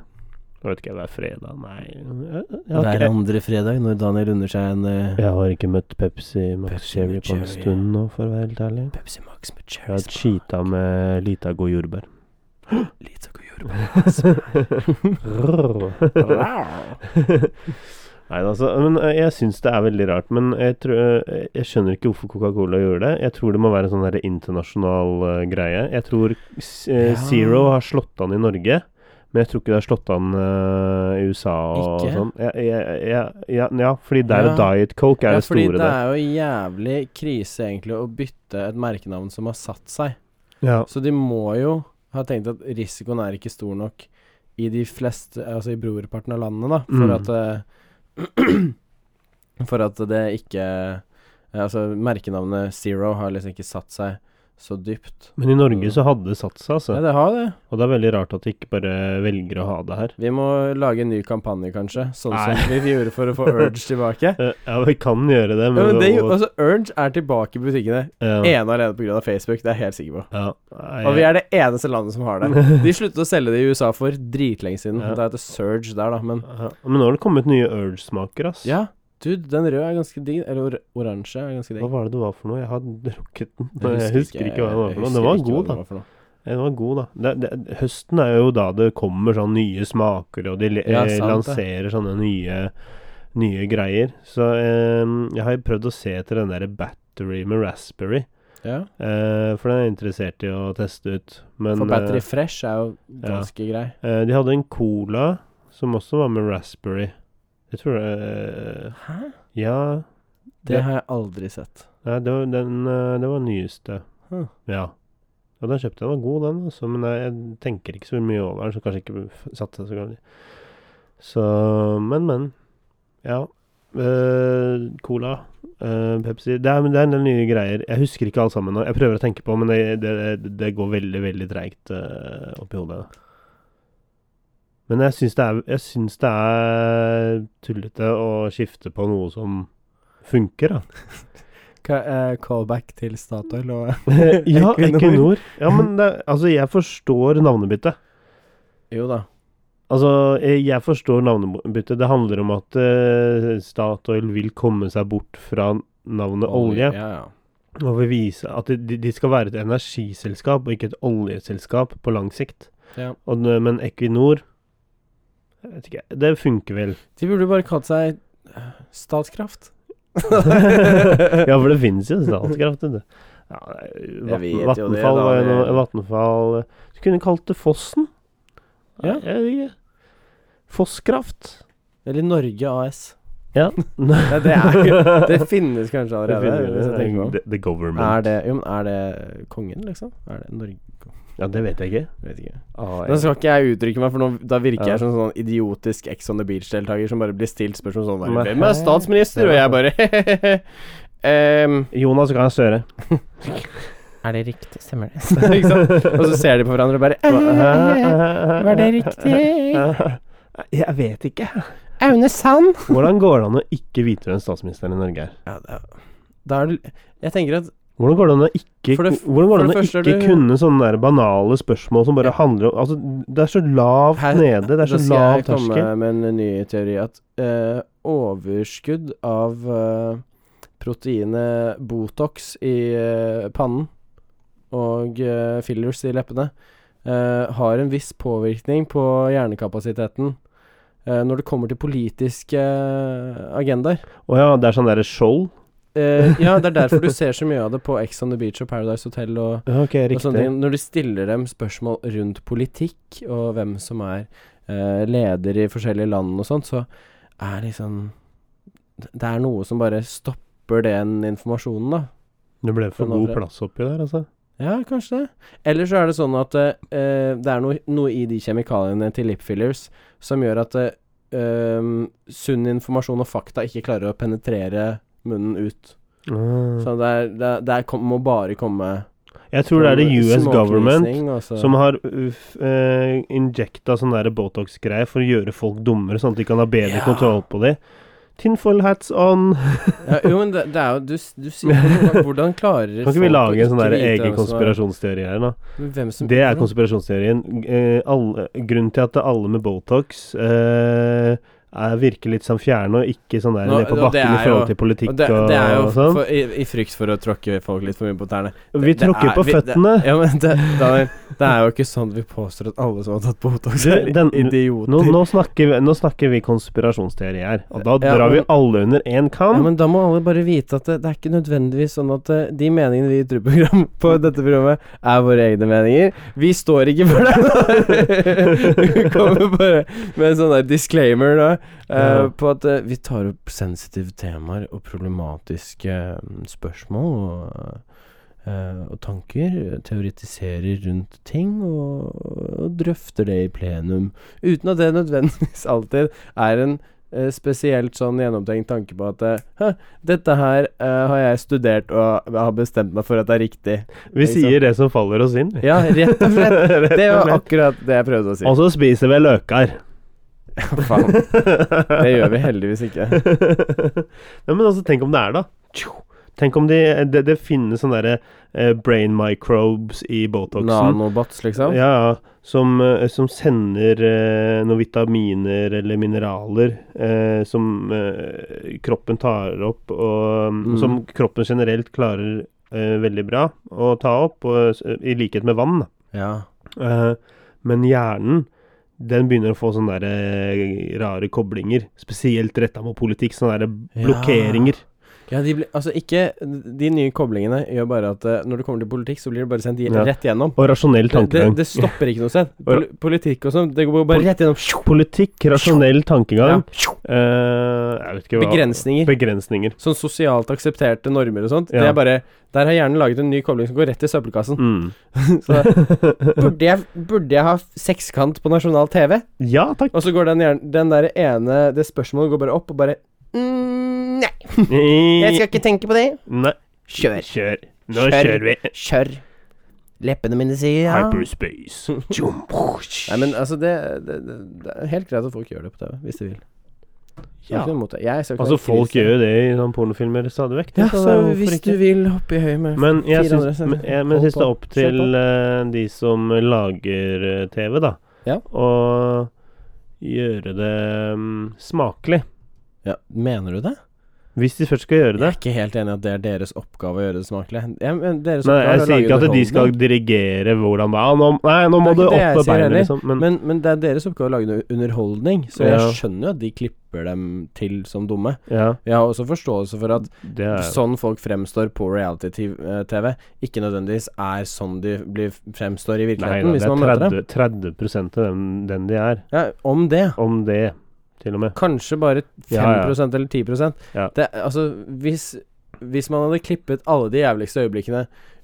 S1: Jeg vet ikke, hver fredag Nei. Jeg, jeg, har
S2: Hver
S1: ikke,
S2: andre fredag, når Daniel runder seg en eh,
S1: jeg har ikke møtt Pepsi Max
S2: Pepsi
S1: Sherry
S2: Max
S1: på en
S2: Sherry.
S1: stund nå, for å være helt ærlig.
S2: Pepsi Max med
S1: Jeg har
S2: cherries
S1: cheata med lita god jordbær.
S2: Litt av
S1: <laughs>
S2: jordbær.
S1: Nei, altså, men eh, jeg syns det er veldig rart. Men jeg, tror, eh, jeg skjønner ikke hvorfor Coca-Cola gjør det. Jeg tror det må være en sånn der internasjonal eh, greie. Jeg tror s- eh,
S2: Ja.
S1: Zero har slått an i Norge, men jeg tror ikke det har slått an eh, i USA og
S2: Ikke?
S1: sånn. Jeg, jeg, jeg, ja, ja, fordi det er jo
S2: Ja.
S1: Diet Coke er
S2: Ja,
S1: det
S2: fordi
S1: store
S2: det
S1: der.
S2: er jo jævlig krise, egentlig, å bytte et merkenavn som har satt seg.
S1: Ja.
S2: Så de må jo ha tenkt at risikoen er ikke stor nok i de fleste Altså i brorparten av landene, da, for
S1: Mm.
S2: at eh, <clears throat> For at det ikke Altså merkenavnet Zero har liksom ikke satt seg så dypt.
S1: Men i Norge så hadde det satt seg,
S2: Mm. Ja,
S1: altså.
S2: det har det.
S1: Og det er veldig rart at de ikke bare velger å ha det her.
S2: Vi må lage en ny kampanje, kanskje. Sånn
S1: Nei.
S2: som vi gjorde for å
S1: <laughs>
S2: få Urge tilbake.
S1: Eh, Ja, vi kan gjøre det,
S2: Ja,
S1: men,
S2: men det, er jo-
S1: og-
S2: altså, Urge er tilbake i butikkene
S1: ja,
S2: ene og alene pga. Facebook, det er jeg helt sikker på.
S1: ja. Nei,
S2: Og vi er det eneste landet som
S1: <laughs>
S2: har det. De sluttet å selge det i USA for dritlenge siden.
S1: Ja.
S2: Det heter Surge der, da, men
S1: Ja, Men nå har det kommet nye Urge-smaker, ass.
S2: Ja, dude, den røde er ganske digg. Eller or oransje er ganske digg.
S1: Hva var det det var for noe? Jeg har <laughs> drukket den. Jeg husker, ikke hva det var for noe.
S2: jeg husker
S1: Den var god,
S2: ikke hva det
S1: da.
S2: var for noe.
S1: Den var god, da. Det, det, høsten er jo da det kommer sånn nye smaker, og de le-
S2: Ja,
S1: eh,
S2: sant det.
S1: lanserer sånne nye, nye greier. Så eh, jeg har jo prøvd å se etter den derre battery med raspberry,
S2: Ja.
S1: eh, for den er jeg interessert i å teste ut. Men
S2: For Battery
S1: eh,
S2: Fresh er jo ganske grei.
S1: eh, de hadde en cola som også var med raspberry. Jeg tror det eh,
S2: Hæ?
S1: Ja.
S2: Det har jeg aldri sett.
S1: Nei, det var, den, eh, det var den nyeste.
S2: Hm.
S1: Ja. Og den kjøpte jeg. Den var god, den, altså, men jeg, jeg tenker ikke så mye over den, så kanskje ikke f- satte seg så galt. Så Men, men. Ja. Eh, cola, eh, Pepsi det er, men det er en del nye greier. Jeg husker ikke alt sammen nå. Jeg prøver å tenke på, men det, det, det går veldig, veldig treigt eh, oppi hodet. Men jeg syns det, er- jeg syns det er tullete å skifte på noe som funker, da. eh,
S2: callback til Statoil <laughs> og
S1: ja,
S2: Equinor.
S1: Equinor. Ja, men det, altså, jeg forstår navnebyttet.
S2: Jo da.
S1: Altså, jeg jeg forstår navnebyttet. Det handler om at eh, Statoil vil komme seg bort fra navnet olje.
S2: Ja, ja.
S1: Og vil vise at de, de skal være et energiselskap og ikke et oljeselskap på lang sikt.
S2: Ja.
S1: Og, n- men Equinor jeg vet ikke, Det funker vel.
S2: De burde bare kalt seg eh, Statkraft.
S1: <laughs>
S2: <laughs>
S1: ja, for det finnes jo Statkraft, vet du. Ja,
S2: Jeg vet jo
S1: Vatn-
S2: det,
S1: Vattenfall
S2: da,
S1: var jo
S2: det-
S1: noe Vattenfall eh, Du kunne kalt det Fossen.
S2: Ja.
S1: Nei, Jeg vet ikke. Fosskraft.
S2: Eller Norge AS.
S1: Ja.
S2: Nei, <laughs> det, er,
S1: <laughs>
S2: <laughs> ikke- det finnes kanskje
S1: Det
S2: allerede.
S1: finner
S2: hvis jeg
S1: vi.
S2: tenker meg om.
S1: The, the government.
S2: Er det, jo, men er det kongen, liksom? Er det Norge
S1: Ja, det vet jeg ikke.
S2: Vet ikke.
S1: Ah,
S2: Da skal ikke jeg uttrykke meg, for nå, da virker
S1: Ja.
S2: jeg som en sånn idiotisk Ex on the Beach-deltaker som bare blir stilt spørsmål sånn
S1: Men
S2: der, Hvem er
S1: hei.
S2: statsminister? Og jeg bare <laughs> ehm,
S1: Jonas Gahr <laughs> Støre.
S2: Er det riktig? Stemmer det? <laughs> ikke sant? Og
S1: <laughs>
S2: så ser de på hverandre og bare <laughs> eh, Var det riktig?
S1: <laughs> Jeg vet ikke.
S2: Aune Sand?
S1: Hvordan går det an å ikke vite hvem statsministeren i Norge er?
S2: Ja, det, er- da er det Jeg tenker at
S1: Hvordan går det an å ikke,
S2: For det f-
S1: hvordan går det
S2: for
S1: an å
S2: det første
S1: ikke
S2: er du-
S1: kunne sånne der banale spørsmål som bare
S2: Ja.
S1: handler om Altså, det er så lavt
S2: Her-
S1: nede. Det er så
S2: <laughs> Da skal
S1: lav
S2: jeg
S1: terskel.
S2: komme med en ny teori. At eh, overskudd av eh, proteinet Botox i eh, pannen og eh, fillers i leppene eh, har en viss påvirkning på hjernekapasiteten eh, når det kommer til politiske agendaer.
S1: Å ja, det er sånn derre skjold?
S2: Eh, ja, det er derfor du ser så mye av det på Ex on the Beach og Paradise Hotel og
S1: Ja, Ok,
S2: og sånne
S1: riktig.
S2: ting. Altså, Når du stiller dem spørsmål rundt politikk og hvem som er eh, leder i forskjellige land og sånt, så er liksom det er noe som bare stopper den informasjonen, da.
S1: Det ble for
S2: Sånn
S1: god
S2: overalt.
S1: plass oppi der, altså.
S2: Ja, kanskje det. Eller så er det sånn at eh, eh, det er noe, noe i de kjemikaliene til lip fillers som gjør at eh, ehm, sunn informasjon og fakta ikke klarer å penetrere munnen ut.
S1: Ah.
S2: Så det, er, det, er- det er, kom, må bare komme altså.
S1: Jeg tror det er det US
S2: småknusing,
S1: government
S2: og så-
S1: som har uff, eh, injekta sånn der Botox-greie for å gjøre folk dummere, sånn at de kan ha bedre
S2: Ja.
S1: kontroll på de. Tinfoil hats on.
S2: ja, Jo, men det, det er jo Du, s- du sier hvordan, hvordan klarer
S1: Kan ikke
S2: folk
S1: vi
S2: å
S1: lage en sånn
S2: ikke
S1: der
S2: vite
S1: egen
S2: hvem som er-
S1: konspirasjonsteori her, da?
S2: Hvem som
S1: Det er konspirasjonsteorien. Eh, alle, grunnen til at alle med Botox eh, er, virker litt sånn fjerne og ikke sånn der
S2: Nå,
S1: ned på
S2: og det
S1: bakken i
S2: er
S1: forhold
S2: jo-
S1: til politikk
S2: og
S1: og,
S2: det, det er jo
S1: sånn.
S2: for, i, i frykt for å tråkke folk litt for mye på tærne.
S1: vi
S2: Det- det
S1: tråkker
S2: er-
S1: på
S2: vi- det-
S1: føttene.
S2: Ja, men det, Daniel, det er jo ikke sånn vi påstår at alle som har tatt Botox,
S1: Du,
S2: er
S1: den-
S2: idioter.
S1: Nå, nå, snakker vi, nå snakker vi konspirasjonsteori her, og da
S2: Ja,
S1: drar vi
S2: men-
S1: alle under én kam.
S2: ja, men da må alle bare vite at det, det er ikke nødvendigvis sånn at eh, de meningene vi ytrer program på dette programmet, er våre egne meninger. Vi står ikke
S1: <laughs>
S2: for det! Vi kommer bare med en sånn der disclaimer da, eh,
S1: Ja.
S2: på at eh, vi tar opp sensitive temaer og problematiske eh, spørsmål og eh, og tanker, teoretiserer rundt ting og, og drøfter det i plenum. Uten at det nødvendigvis <laughs> alltid er en eh, spesielt sånn gjennomtenkt tanke på at eh, «Hæ, dette her eh, har jeg studert og har bestemt meg for at det er riktig.
S1: vi
S2: ikke
S1: sier det som faller oss inn. vi.
S2: Ja, rett og
S1: <laughs>
S2: slett.
S1: Rett og
S2: Det var
S1: slett. Altså
S2: akkurat det jeg prøvde å si.
S1: Og så spiser vi løker.
S2: <laughs>
S1: <laughs>
S2: Faen,
S1: det
S2: det gjør vi heldigvis ikke.
S1: <laughs> ja, men altså, tenk om det er da Tjo! Tenk om de, det, det finnes sånne der, eh, brain microbes i Botoxen.
S2: Nanobots,
S1: ja,
S2: liksom.
S1: ja, som, eh, som sender eh, noen vitaminer eller mineraler eh, som eh, kroppen tar opp, og
S2: Mm.
S1: som kroppen generelt klarer eh, veldig bra å ta opp, og, s- i likhet med vann. da.
S2: Ja.
S1: Eh, men hjernen den begynner å få sånne der, eh, rare koblinger, spesielt retta mot politikk. Sånne der blokkeringer.
S2: Ja, de blir, altså ikke De nye koblingene gjør bare at eh, når det kommer til politikk, så blir det bare sendt i-
S1: Ja.
S2: rett gjennom.
S1: Og rasjonell
S2: Det, det,
S1: tankegang.
S2: det stopper ikke
S1: <laughs>
S2: noe sted. Pol politikk og sånn, det går bare rett gjennom.
S1: Politikk, rasjonell tankegang
S2: Ja.
S1: eh, Jeg vet ikke hva
S2: Begrensninger.
S1: Begrensninger.
S2: Sånn sosialt aksepterte normer og sånt. Det
S1: Ja.
S2: er bare Der har hjernen laget en ny kobling som går rett i søppelkassen.
S1: Mm.
S2: <laughs> Så burde jeg, burde jeg ha sekskant på nasjonal TV?
S1: Ja, takk.
S2: Og så går den, hjernen- den der ene Det spørsmålet går bare opp og bare mm, Nei, jeg skal ikke tenke på det.
S1: Nei,
S2: Kjør.
S1: kjør. Nå
S2: Kjør.
S1: kjører vi.
S2: Kjør. Leppene mine sier ja. <laughs>
S1: Hyperspace. Tjom, push.
S2: Nei, men altså, det, det, det, det er helt greit at folk gjør det på TV, hvis de vil. Jeg har
S1: ja.
S2: ikke noe imot det. Jeg skal ikke
S1: Altså,
S2: være
S1: folk
S2: kritisk.
S1: gjør jo det i sånne pornofilmer stadig vekk.
S2: Ja,
S1: det,
S2: så
S1: det er hvorfor
S2: hvis
S1: ikke?
S2: du vil hoppe i høy med
S1: Men jeg
S2: fire andre
S1: syns,
S2: steder.
S1: men jeg, men
S2: Hold
S1: syns det er
S2: på.
S1: opp
S2: Kjør
S1: til eh, de som lager eh, TV, da,
S2: Ja.
S1: å gjøre det mm, smakelig.
S2: ja, Mener du det?
S1: Hvis de først skal gjøre
S2: Jeg
S1: det.
S2: er ikke helt enig i at det er deres oppgave å gjøre det smakelig. Jeg, men deres
S1: Nei,
S2: oppgave
S1: jeg
S2: er å
S1: sier
S2: lage
S1: ikke at de skal
S2: underholdning.
S1: dirigere hvordan ja, nå, Nei, nå må
S2: Det
S1: du
S2: er ikke
S1: opp
S2: det jeg
S1: med
S2: sier
S1: beina,
S2: heller,
S1: liksom. Men,
S2: men, men det er deres oppgave å lage noe underholdning, så
S1: Ja.
S2: jeg skjønner jo at de klipper dem til som dumme.
S1: ja,
S2: Jeg har også forståelse for at
S1: det er
S2: sånn folk fremstår på reality-TV, ikke nødvendigvis er sånn de blir fremstår i
S1: Nei da, det
S2: virkeligheten, hvis man
S1: er
S2: møter dem.
S1: 30, 30 av den, den de er.
S2: Ja, om det.
S1: Om det, til og med.
S2: Kanskje bare 5
S1: Ja, ja.
S2: eller 10
S1: Ja.
S2: det, Altså, hvis, hvis man hadde klippet alle de jævligste øyeblikkene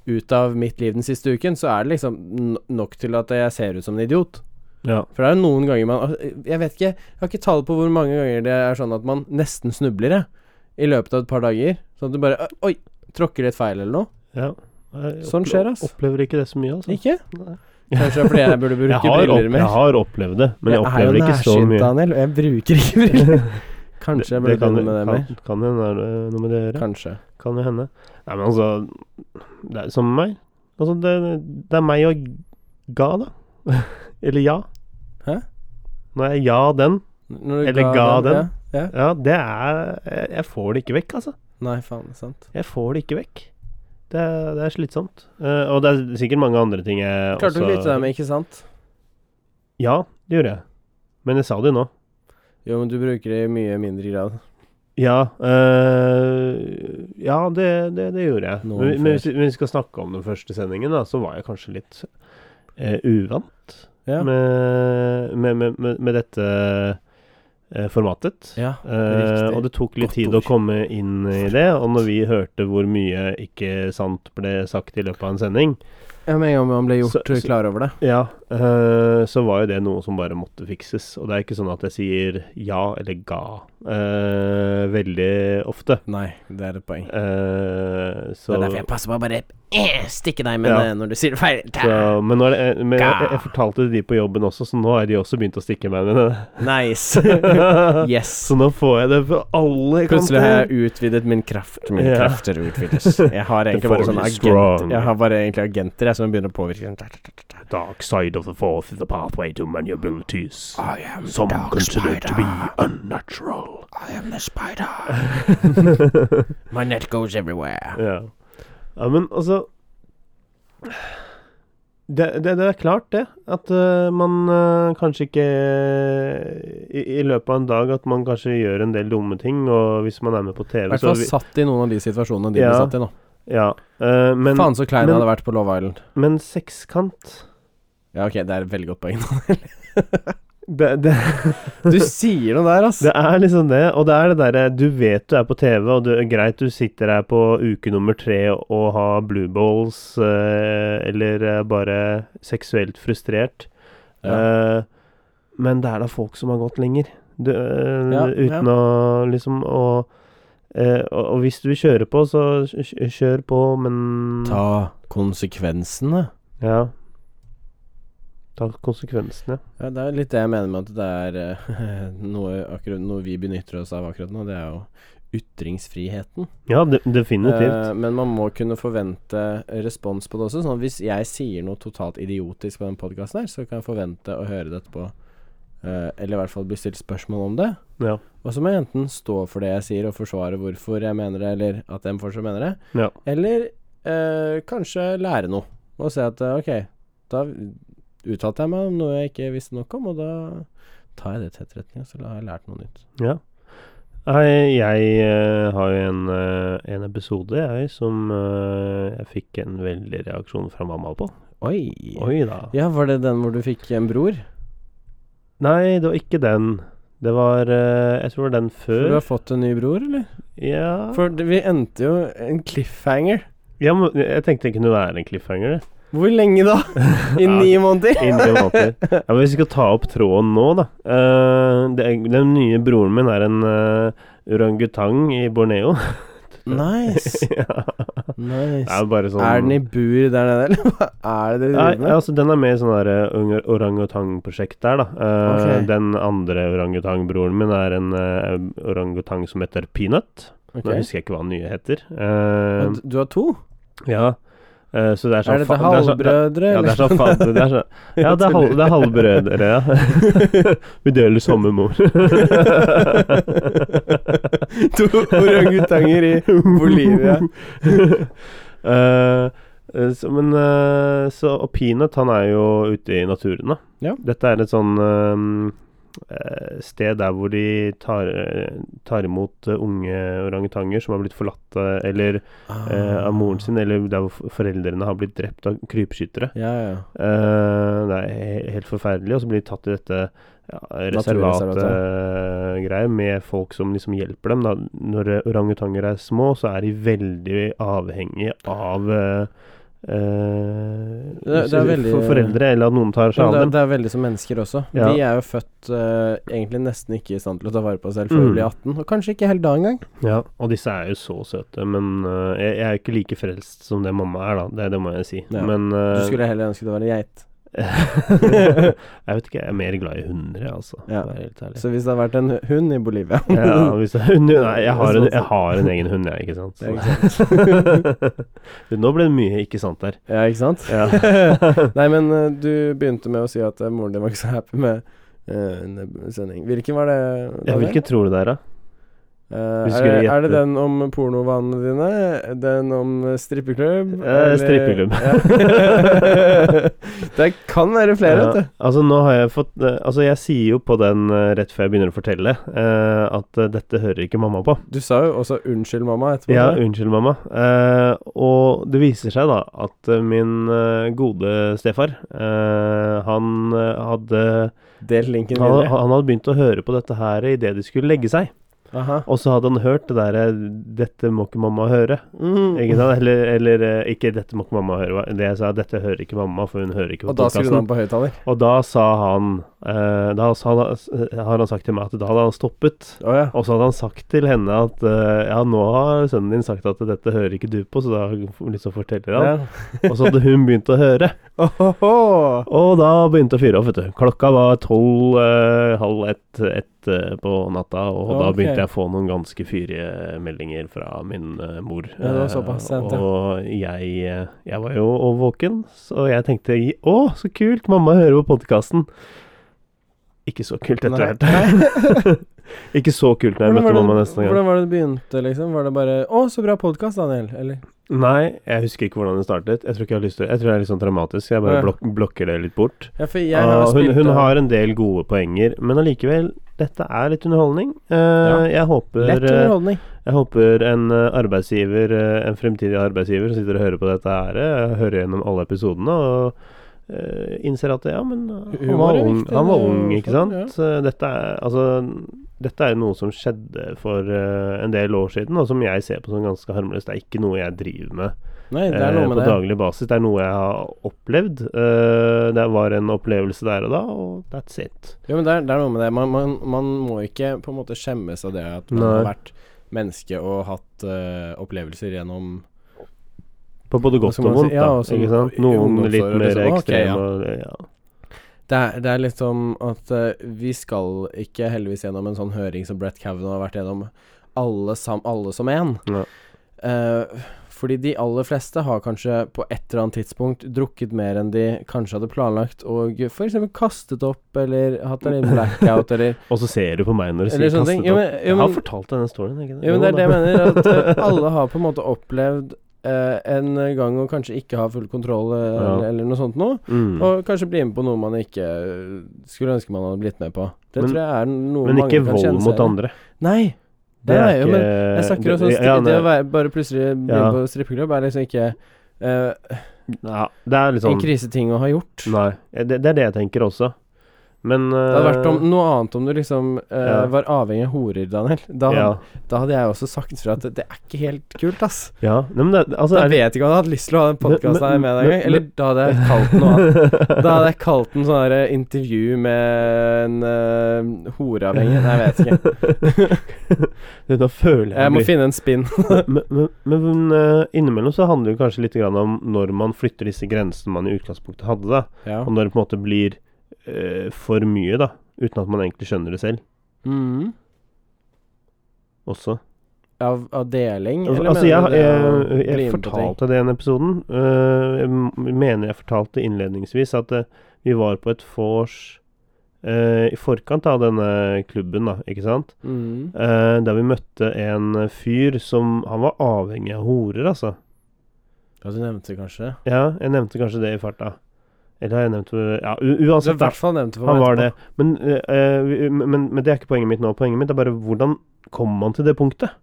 S2: ut av mitt liv den siste uken, så er det liksom n- nok til at jeg ser ut som en idiot.
S1: Ja.
S2: For det er jo noen ganger man altså, Jeg vet ikke, jeg har ikke tall på hvor mange ganger det er sånn at man nesten snubler, jeg, i løpet av et par dager. Sånn at du bare Oi! Tråkker litt feil eller noe.
S1: ja. Jeg
S2: Sånn
S1: opple-
S2: skjer, ass.
S1: Opplever ikke det så mye, altså.
S2: Ikke?
S1: Nei.
S2: Kanskje det er fordi jeg burde bruke
S1: Jeg har, opp,
S2: briller mer.
S1: jeg har opplevd det, men jeg,
S2: er jo
S1: opplever ikke så
S2: nærsynt,
S1: mye.
S2: Daniel, og jeg bruker ikke
S1: <laughs>
S2: briller. Kanskje jeg burde
S1: kan,
S2: begynne med det mer.
S1: kan, kan hende er det noe med det å gjøre.
S2: Kanskje.
S1: Kan jo hende. Nei, men altså Det er som meg. Altså, det, det er meg og ga, da. <laughs> Eller ja.
S2: Hæ?
S1: Når jeg ja den,
S2: Når du
S1: Eller ga den.
S2: Ja. ja.
S1: ja, det er jeg, jeg får det ikke vekk, altså.
S2: Nei, faen, sant.
S1: Jeg får det ikke vekk. Det er, det er slitsomt. Eh, og det er sikkert mange andre ting jeg
S2: Klarte du å
S1: også
S2: kvitte deg med, ikke sant?
S1: Ja, det gjorde jeg. Men jeg sa det jo nå.
S2: Jo, men du bruker det i mye mindre grad.
S1: Ja, eh, ja det, det, det gjorde jeg.
S2: Noen
S1: Men,
S2: før.
S1: men hvis, vi- hvis vi skal snakke om den første sendingen, da, så var jeg kanskje litt eh, uvant
S2: Ja.
S1: med, med, med, med, med dette eh, formatet.
S2: Ja,
S1: Eh,
S2: riktig.
S1: og det tok litt
S2: Godt
S1: tid
S2: ord.
S1: å komme inn i det, og når vi hørte hvor mye ikke sant ble sagt i løpet av en sending,
S2: Ja, Med en gang man ble
S1: Så-
S2: gjort
S1: så-
S2: klar over det.
S1: ja, eh, så var jo det noe som bare måtte fikses. Og det er ikke sånn at jeg sier ja eller ga eh, veldig ofte.
S2: Nei, det er et poeng.
S1: Eh,
S2: Det
S1: så,
S2: er derfor jeg passer på å bare eh, stikke deg med
S1: Ja.
S2: det når du sier det feil.
S1: så Men, nå er det, eh, men jeg,
S2: Ga.
S1: jeg fortalte det de på jobben også, så nå har de også begynt å stikke meg <laughs> med
S2: <laughs> Nice.
S1: det.
S2: <laughs> Yes.
S1: Så nå får jeg det fra alle
S2: Plutselig har
S1: kanter.
S2: jeg utvidet min kraft. Min
S1: Ja.
S2: krefter utvides.
S1: <laughs>
S2: Jeg har egentlig bare
S1: force
S2: sånne
S1: is
S2: agenter
S1: strong.
S2: Jeg har bare egentlig agenter jeg, som begynner å påvirke
S1: Dark side of the fourth is the pathway to many abilities.
S2: I am
S1: Some consider it to be unnatural. <laughs>
S2: I am the spider. My net goes everywhere.
S1: ja. ja, men altså det, det, det er klart, det. At eh, man eh, kanskje ikke eh, i, I løpet av en dag at man kanskje gjør en del dumme ting, og hvis man er med på
S2: I
S1: TV,
S2: hvert
S1: så
S2: fall
S1: vi,
S2: satt i noen av de situasjonene de ble
S1: Ja.
S2: satt i nå.
S1: Ja. eh, men,
S2: Faen så klein
S1: men-
S2: jeg hadde vært på Love Island.
S1: men sekskant
S2: Ja, ok, det er et veldig godt poeng.
S1: <laughs> det, det,
S2: Du sier noe der, ass.
S1: det er liksom det. Og det er det derre Du vet du er på TV, og det er greit du sitter her på uke nummer tre og har blue balls, eh, eller eh, bare seksuelt frustrert.
S2: Ja.
S1: Eh, men det er da folk som har gått lenger. Du, eh,
S2: Ja,
S1: uten å liksom å eh, og, og hvis du kjører på, så kj- kj- kjør på, men
S2: Ta konsekvensene.
S1: Ja. Ta konsekvensene.
S2: Ja, det er litt det jeg mener med at det er eh, <laughs> noe, akkurat, noe vi benytter oss av akkurat nå. Det er jo ytringsfriheten.
S1: Ja, de, definitivt.
S2: Eh, men man må kunne forvente respons på det også. Sånn at hvis jeg sier noe totalt idiotisk på den podkasten her, så kan jeg forvente å høre det etterpå. Eh, eller i hvert fall bli stilt spørsmål om det.
S1: Ja.
S2: Og så må jeg enten stå for det jeg sier, og forsvare hvorfor jeg mener det, eller at de fortsatt mener det.
S1: Ja.
S2: Eller eh, kanskje lære noe, og se at eh, ok, da uttalte jeg meg om noe jeg ikke visste nok om, og da tar jeg det til etterretning, og så har jeg lært noe nytt.
S1: Nei, jeg eh, har jo en, eh, en episode, jeg, som eh, jeg fikk en veldig reaksjon fra mamma på.
S2: Oi.
S1: Oi da.
S2: Ja, var det den hvor du fikk en bror?
S1: Nei, det var ikke den. Det var eh, Jeg tror det var den
S2: For du
S1: før.
S2: har fått en ny bror, eller?
S1: Ja.
S2: For det- vi endte jo en cliffhanger.
S1: ja men jeg tenkte det kunne være en cliffhanger. det.
S2: Hvor lenge
S1: <laughs>
S2: da? I
S1: Ja.
S2: ni
S1: <laughs>
S2: måneder?
S1: Innen tre måneder.
S2: <laughs>
S1: Ja, men hvis vi skal ta opp tråden nå, da Eh, det, er- Den nye broren min er en eh, orangutang i Borneo.
S2: Nice.
S1: ja. Det
S2: nice.
S1: er bare sånn
S2: Er den i bur der nede, eller hva er det dere
S1: Nei,
S2: driver med?
S1: altså den er med i sånn der, eh, ung- orangutang-prosjekt der, da. Eh,
S2: Ok.
S1: Den andre orangutangbroren min er en eh, orangutang som heter Peanut. Nå
S2: Ok.
S1: husker jeg ikke hva den nye heter. Eh,
S2: Men Du har to?
S1: ja. Eh, så det er sånn
S2: Er dette
S1: fa- det er sånn-
S2: halvbrødre,
S1: Ja, det er
S2: eller?
S1: sånn fadde,
S2: <laughs>
S1: det er sånn <laughs> Ja, det er, halv, det er halvbrødre, <laughs> ja. Vi deler samme <laughs> mor.
S2: To
S1: <laughs>
S2: orangutanger i Bolivia.
S1: Eh, eh, så, men eh, så, Og Peanut, han er jo ute i naturen, da.
S2: Ja.
S1: Dette er et sånn eh, eh, sted der hvor de tar, eh, tar imot eh, unge orangutanger som har blitt forlatt eh, eller <laughs> eh, av
S2: Ah.
S1: moren sin, eller der hvor f- foreldrene har blitt drept av krypskyttere.
S2: Ja, ja.
S1: Eh, det er he- helt forferdelig. Og så blir de tatt i dette ja,
S2: Naturreservatet.
S1: reservatgreier med folk som liksom hjelper dem. Da. Når eh, orangutanger er små, så er de veldig avhengige av eh, eh,
S2: Det- det er veldig-
S1: for foreldre, eller at noen tar seg
S2: Men
S1: av
S2: det,
S1: dem.
S2: det er veldig som mennesker også.
S1: Ja.
S2: Vi er jo født eh, egentlig nesten ikke i stand til å ta vare på oss selv
S1: Mm.
S2: før vi blir 18, og kanskje ikke helt da engang.
S1: Ja, og disse er jo så søte, men eh, jeg, jeg er jo ikke like frelst som det mamma er, da. Det, det må jeg si.
S2: Ja.
S1: Men eh,
S2: Du skulle heller ønske det var en geit.
S1: <laughs> Jeg vet ikke, jeg er mer glad i hunder, jeg, altså. for
S2: Ja.
S1: å være helt ærlig.
S2: Så hvis det hadde vært en hund i Bolivia
S1: Ja, hvis det er hund Nei, jeg har en, jeg har en egen hund, jeg, ikke sant.
S2: Ja,
S1: Du, <laughs> Nå ble det mye ikke sant der.
S2: <laughs> Ja, ikke sant? <laughs> Nei, men eh, du begynte med å si at eh, moren din var ikke så happy med eh, en sending. Hvilken var det?
S1: <laughs> Ja,
S2: Daniel?
S1: hvilken tror du det er, da?
S2: Eh,
S1: Hvis du
S2: er, det-
S1: skulle
S2: er det
S1: gjette.
S2: den om pornovanene dine? Den om eh, strippeklubb?
S1: Eh, strippeklubb.
S2: Ja. <laughs> det kan være flere,
S1: Ja,
S2: vet du.
S1: Altså, nå har jeg fått eh, Altså, jeg sier jo på den eh, rett før jeg begynner å fortelle, eh, at eh, dette hører ikke mamma på.
S2: Du sa jo også 'unnskyld, mamma' etterpå.
S1: Ja,
S2: tror jeg.
S1: unnskyld, mamma. Eh, og det viser seg da at eh, min eh, gode stefar, eh, han eh, hadde
S2: Del linken
S1: han,
S2: videre.
S1: han hadde begynt å høre på dette her idet de skulle legge seg.
S2: Aha.
S1: Og så hadde han hørt det derre 'Dette må ikke mamma høre'.
S2: Mm.
S1: Ikke sant? Eller, eller eh, ikke 'Dette må ikke mamma høre'. hva- Det jeg sa, 'Dette hører ikke mamma', for hun hører ikke
S2: Og
S1: på
S2: da skrudde
S1: podkasten.
S2: han på høyttaler.
S1: Og da sa han eh, Da sa, har han sagt til meg at da hadde han stoppet.
S2: Å ja.
S1: Og så hadde han sagt til henne at eh, ja, nå har sønnen din sagt at dette hører ikke du på, så da liksom forteller han.
S2: ja.
S1: Og så hadde hun begynt å høre.
S2: Ohoho.
S1: Og da begynte å fyre opp, vet du. Klokka var tolv, eh, halv ett, ett eh, på natta, og da
S2: Ok.
S1: begynte jeg å få noen ganske fyrige meldinger fra min eh, mor.
S2: Ja, det var såpass
S1: Eh,
S2: sent, ja.
S1: Og jeg, eh, jeg var jo og våken, så jeg tenkte å, så kult, mamma hører på podkasten. Ikke så kult etter
S2: Nei.
S1: hvert. <laughs> Ikke så kult når jeg
S2: Hvordan var,
S1: møtte mamma
S2: det,
S1: neste gang.
S2: hvordan var det det begynte, liksom? Var det bare 'Å, så bra podkast, Daniel'? Eller?
S1: Nei, jeg husker ikke hvordan det startet. Jeg tror ikke jeg har lyst til Jeg tror jeg er litt sånn traumatisk. Jeg
S2: Ja.
S1: bare blok blokker det litt bort.
S2: Ja, for jeg har
S1: Ah, hun,
S2: spilt eh,
S1: hun
S2: det-
S1: har en del gode poenger, men allikevel dette er litt underholdning. Eh, jeg, håper,
S2: Lett
S1: eh,
S2: underholdning.
S1: jeg håper en eh, arbeidsgiver, eh, en fremtidig arbeidsgiver, som sitter og hører på dette her, eh, hører gjennom alle episodene og eh, innser at ja, men eh, han
S2: Humor
S1: var
S2: er
S1: ung,
S2: viktig,
S1: han var
S2: det er
S1: ung
S2: jo
S1: ikke
S2: sånn,
S1: sant? Eh, Dette er altså dette er jo noe som skjedde for eh, en del år siden, og som jeg ser på som ganske harmløst. Det er ikke noe jeg driver med
S2: Nei, det er noe
S1: eh,
S2: med
S1: på
S2: det.
S1: daglig basis. Det er noe jeg har opplevd. Eh, det var en opplevelse der og da, og that's it.
S2: Jo, men det er, det er noe med det. Man, man, man må ikke på en måte skjemmes av det at man
S1: Nei.
S2: har vært menneske og hatt eh, opplevelser gjennom
S1: På både
S2: Hva
S1: godt
S2: skal
S1: og
S2: man si?
S1: vondt,
S2: Ja,
S1: da.
S2: og så-
S1: ikke sant?
S2: i
S1: Noen
S2: ungdomsåret,
S1: litt mer
S2: liksom, ok, ja.
S1: ekstreme. og- ja.
S2: Det er, det er litt som at eh, vi skal ikke heldigvis gjennom en sånn høring som Brett Kavanaugh har vært gjennom, alle, sam, alle som én.
S1: Ja.
S2: Eh, fordi de aller fleste har kanskje på et eller annet tidspunkt drukket mer enn de kanskje hadde planlagt, og f.eks. kastet opp, eller hatt en
S1: <laughs>
S2: liten blackout, eller
S1: Og så ser du på meg når du sier
S2: Eller sånne
S1: kastet
S2: ting.
S1: opp.
S2: Jo, men- jo,
S1: jeg har
S2: men-
S1: fortalt denne storyen, ikke
S2: Jo, men det er det jeg
S1: Jo, da.
S2: mener.
S1: <laughs>
S2: At eh, alle har på en måte opplevd eh, en gang og kanskje ikke har full kontroll eh,
S1: Ja.
S2: eller, eller noe sånt noe.
S1: Mm.
S2: Og kanskje bli med på noe man ikke eh, skulle ønske man hadde blitt med på. Det
S1: Men-
S2: tror jeg er noe
S1: Men
S2: mange
S1: ikke
S2: kan kjenne seg
S1: vold mot
S2: i.
S1: andre.
S2: Nei.
S1: Det
S2: Nei,
S1: er
S2: jo,
S1: ikke
S2: men Jeg snakker også om
S1: det- ja,
S2: stri- det
S1: nei,
S2: å være, bare plutselig bli
S1: Ja.
S2: på strippeklubb er liksom ikke eh,
S1: ja, Det er litt
S2: en
S1: sånn
S2: kriseting å ha gjort.
S1: Nei. Det, det er det jeg tenker også. Men eh,
S2: Det hadde vært om, noe annet om du liksom eh,
S1: Ja.
S2: var avhengig av horer, Daniel. Da,
S1: ja.
S2: da hadde jeg også sagt fra at det, det er ikke helt kult, ass.
S1: ja. Nei, men det, altså,
S2: Da
S1: er det-
S2: vet jeg ikke om jeg hadde hatt lyst til å ha den podkasten her
S1: Men-
S2: med deg
S1: men-
S2: engang. Eller da hadde jeg kalt den noe annet.
S1: <laughs>
S2: Da hadde jeg kalt den sånn her eh, intervju med en eh, horeavhengig. Nei, jeg vet ikke.
S1: <laughs> Du, Nå føler jeg
S2: Jeg må
S1: blir-
S2: finne en spinn.
S1: men, men, men eh, innimellom så handler det jo kanskje litt grann om når man flytter disse grensene man i utgangspunktet hadde, da.
S2: Ja.
S1: Og når det på en måte blir eh, for mye, da. Uten at man egentlig skjønner det selv
S2: Mm.
S1: også.
S2: Av, av deling?
S1: Altså,
S2: eller
S1: altså,
S2: mener
S1: jeg,
S2: du det å
S1: jeg,
S2: bli
S1: jeg
S2: med på ting?
S1: fortalte det i den episoden. Eh, jeg m- mener jeg fortalte innledningsvis at eh, vi var på et vors eh, i forkant av denne klubben, da, ikke sant?
S2: Mm.
S1: Eh, der vi møtte en fyr som Han var avhengig av horer, altså.
S2: Ja, du nevnte det kanskje?
S1: Ja, jeg nevnte kanskje det i farta. Eller har jeg nevnt Ja, u
S2: Du har i
S1: uansett, Altså, da.
S2: hvert fall nevnt det for
S1: Han
S2: meg.
S1: var det.
S2: etterpå.
S1: Men, eh, vi- men, men det er ikke poenget mitt nå. Poenget mitt er bare hvordan kom man til det punktet?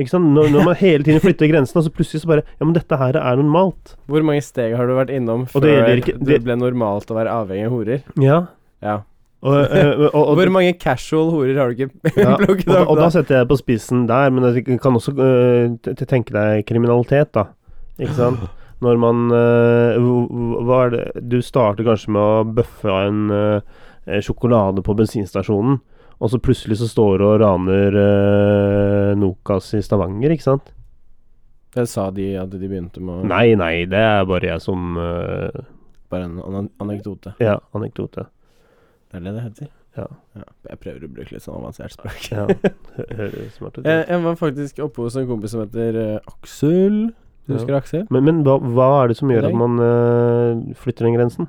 S1: Ikke sant? Når, når man hele tiden flytter <laughs> grensene, og så plutselig så bare Ja, men dette her er normalt.
S2: Hvor mange steg har du vært innom før det,
S1: gjelder ikke- det-
S2: ble normalt å være avhengig av horer?
S1: Ja.
S2: Ja.
S1: Og, eh, og, og,
S2: Hvor mange casual horer har du ikke <laughs>
S1: ja, og,
S2: plukket
S1: og,
S2: opp?
S1: da setter jeg det på spissen der, men jeg kan også eh, te- te- tenke deg kriminalitet, da. Ikke sant? Når man eh, hv- hv- Hva er det Du starter kanskje med å bøffe av en eh, eh, sjokolade på bensinstasjonen, og så plutselig så står du og raner eh, Nokas i Stavanger, ikke sant?
S2: Det sa de at de begynte med å-
S1: Nei, nei, det er bare jeg som eh,
S2: Bare en anan- anekdote.
S1: Ja, anekdote.
S2: Det er det det heter.
S1: Ja.
S2: Jeg prøver å bruke litt sånn avansert språk.
S1: Ja. hø- Høres smart ut.
S2: <laughs> Jeg, jeg var faktisk oppe hos en kompis som heter eh, Aksel. Du
S1: Ja.
S2: husker Aksel?
S1: Men, men hva, hva er det som gjør
S2: Nei.
S1: at man eh, flytter den grensen?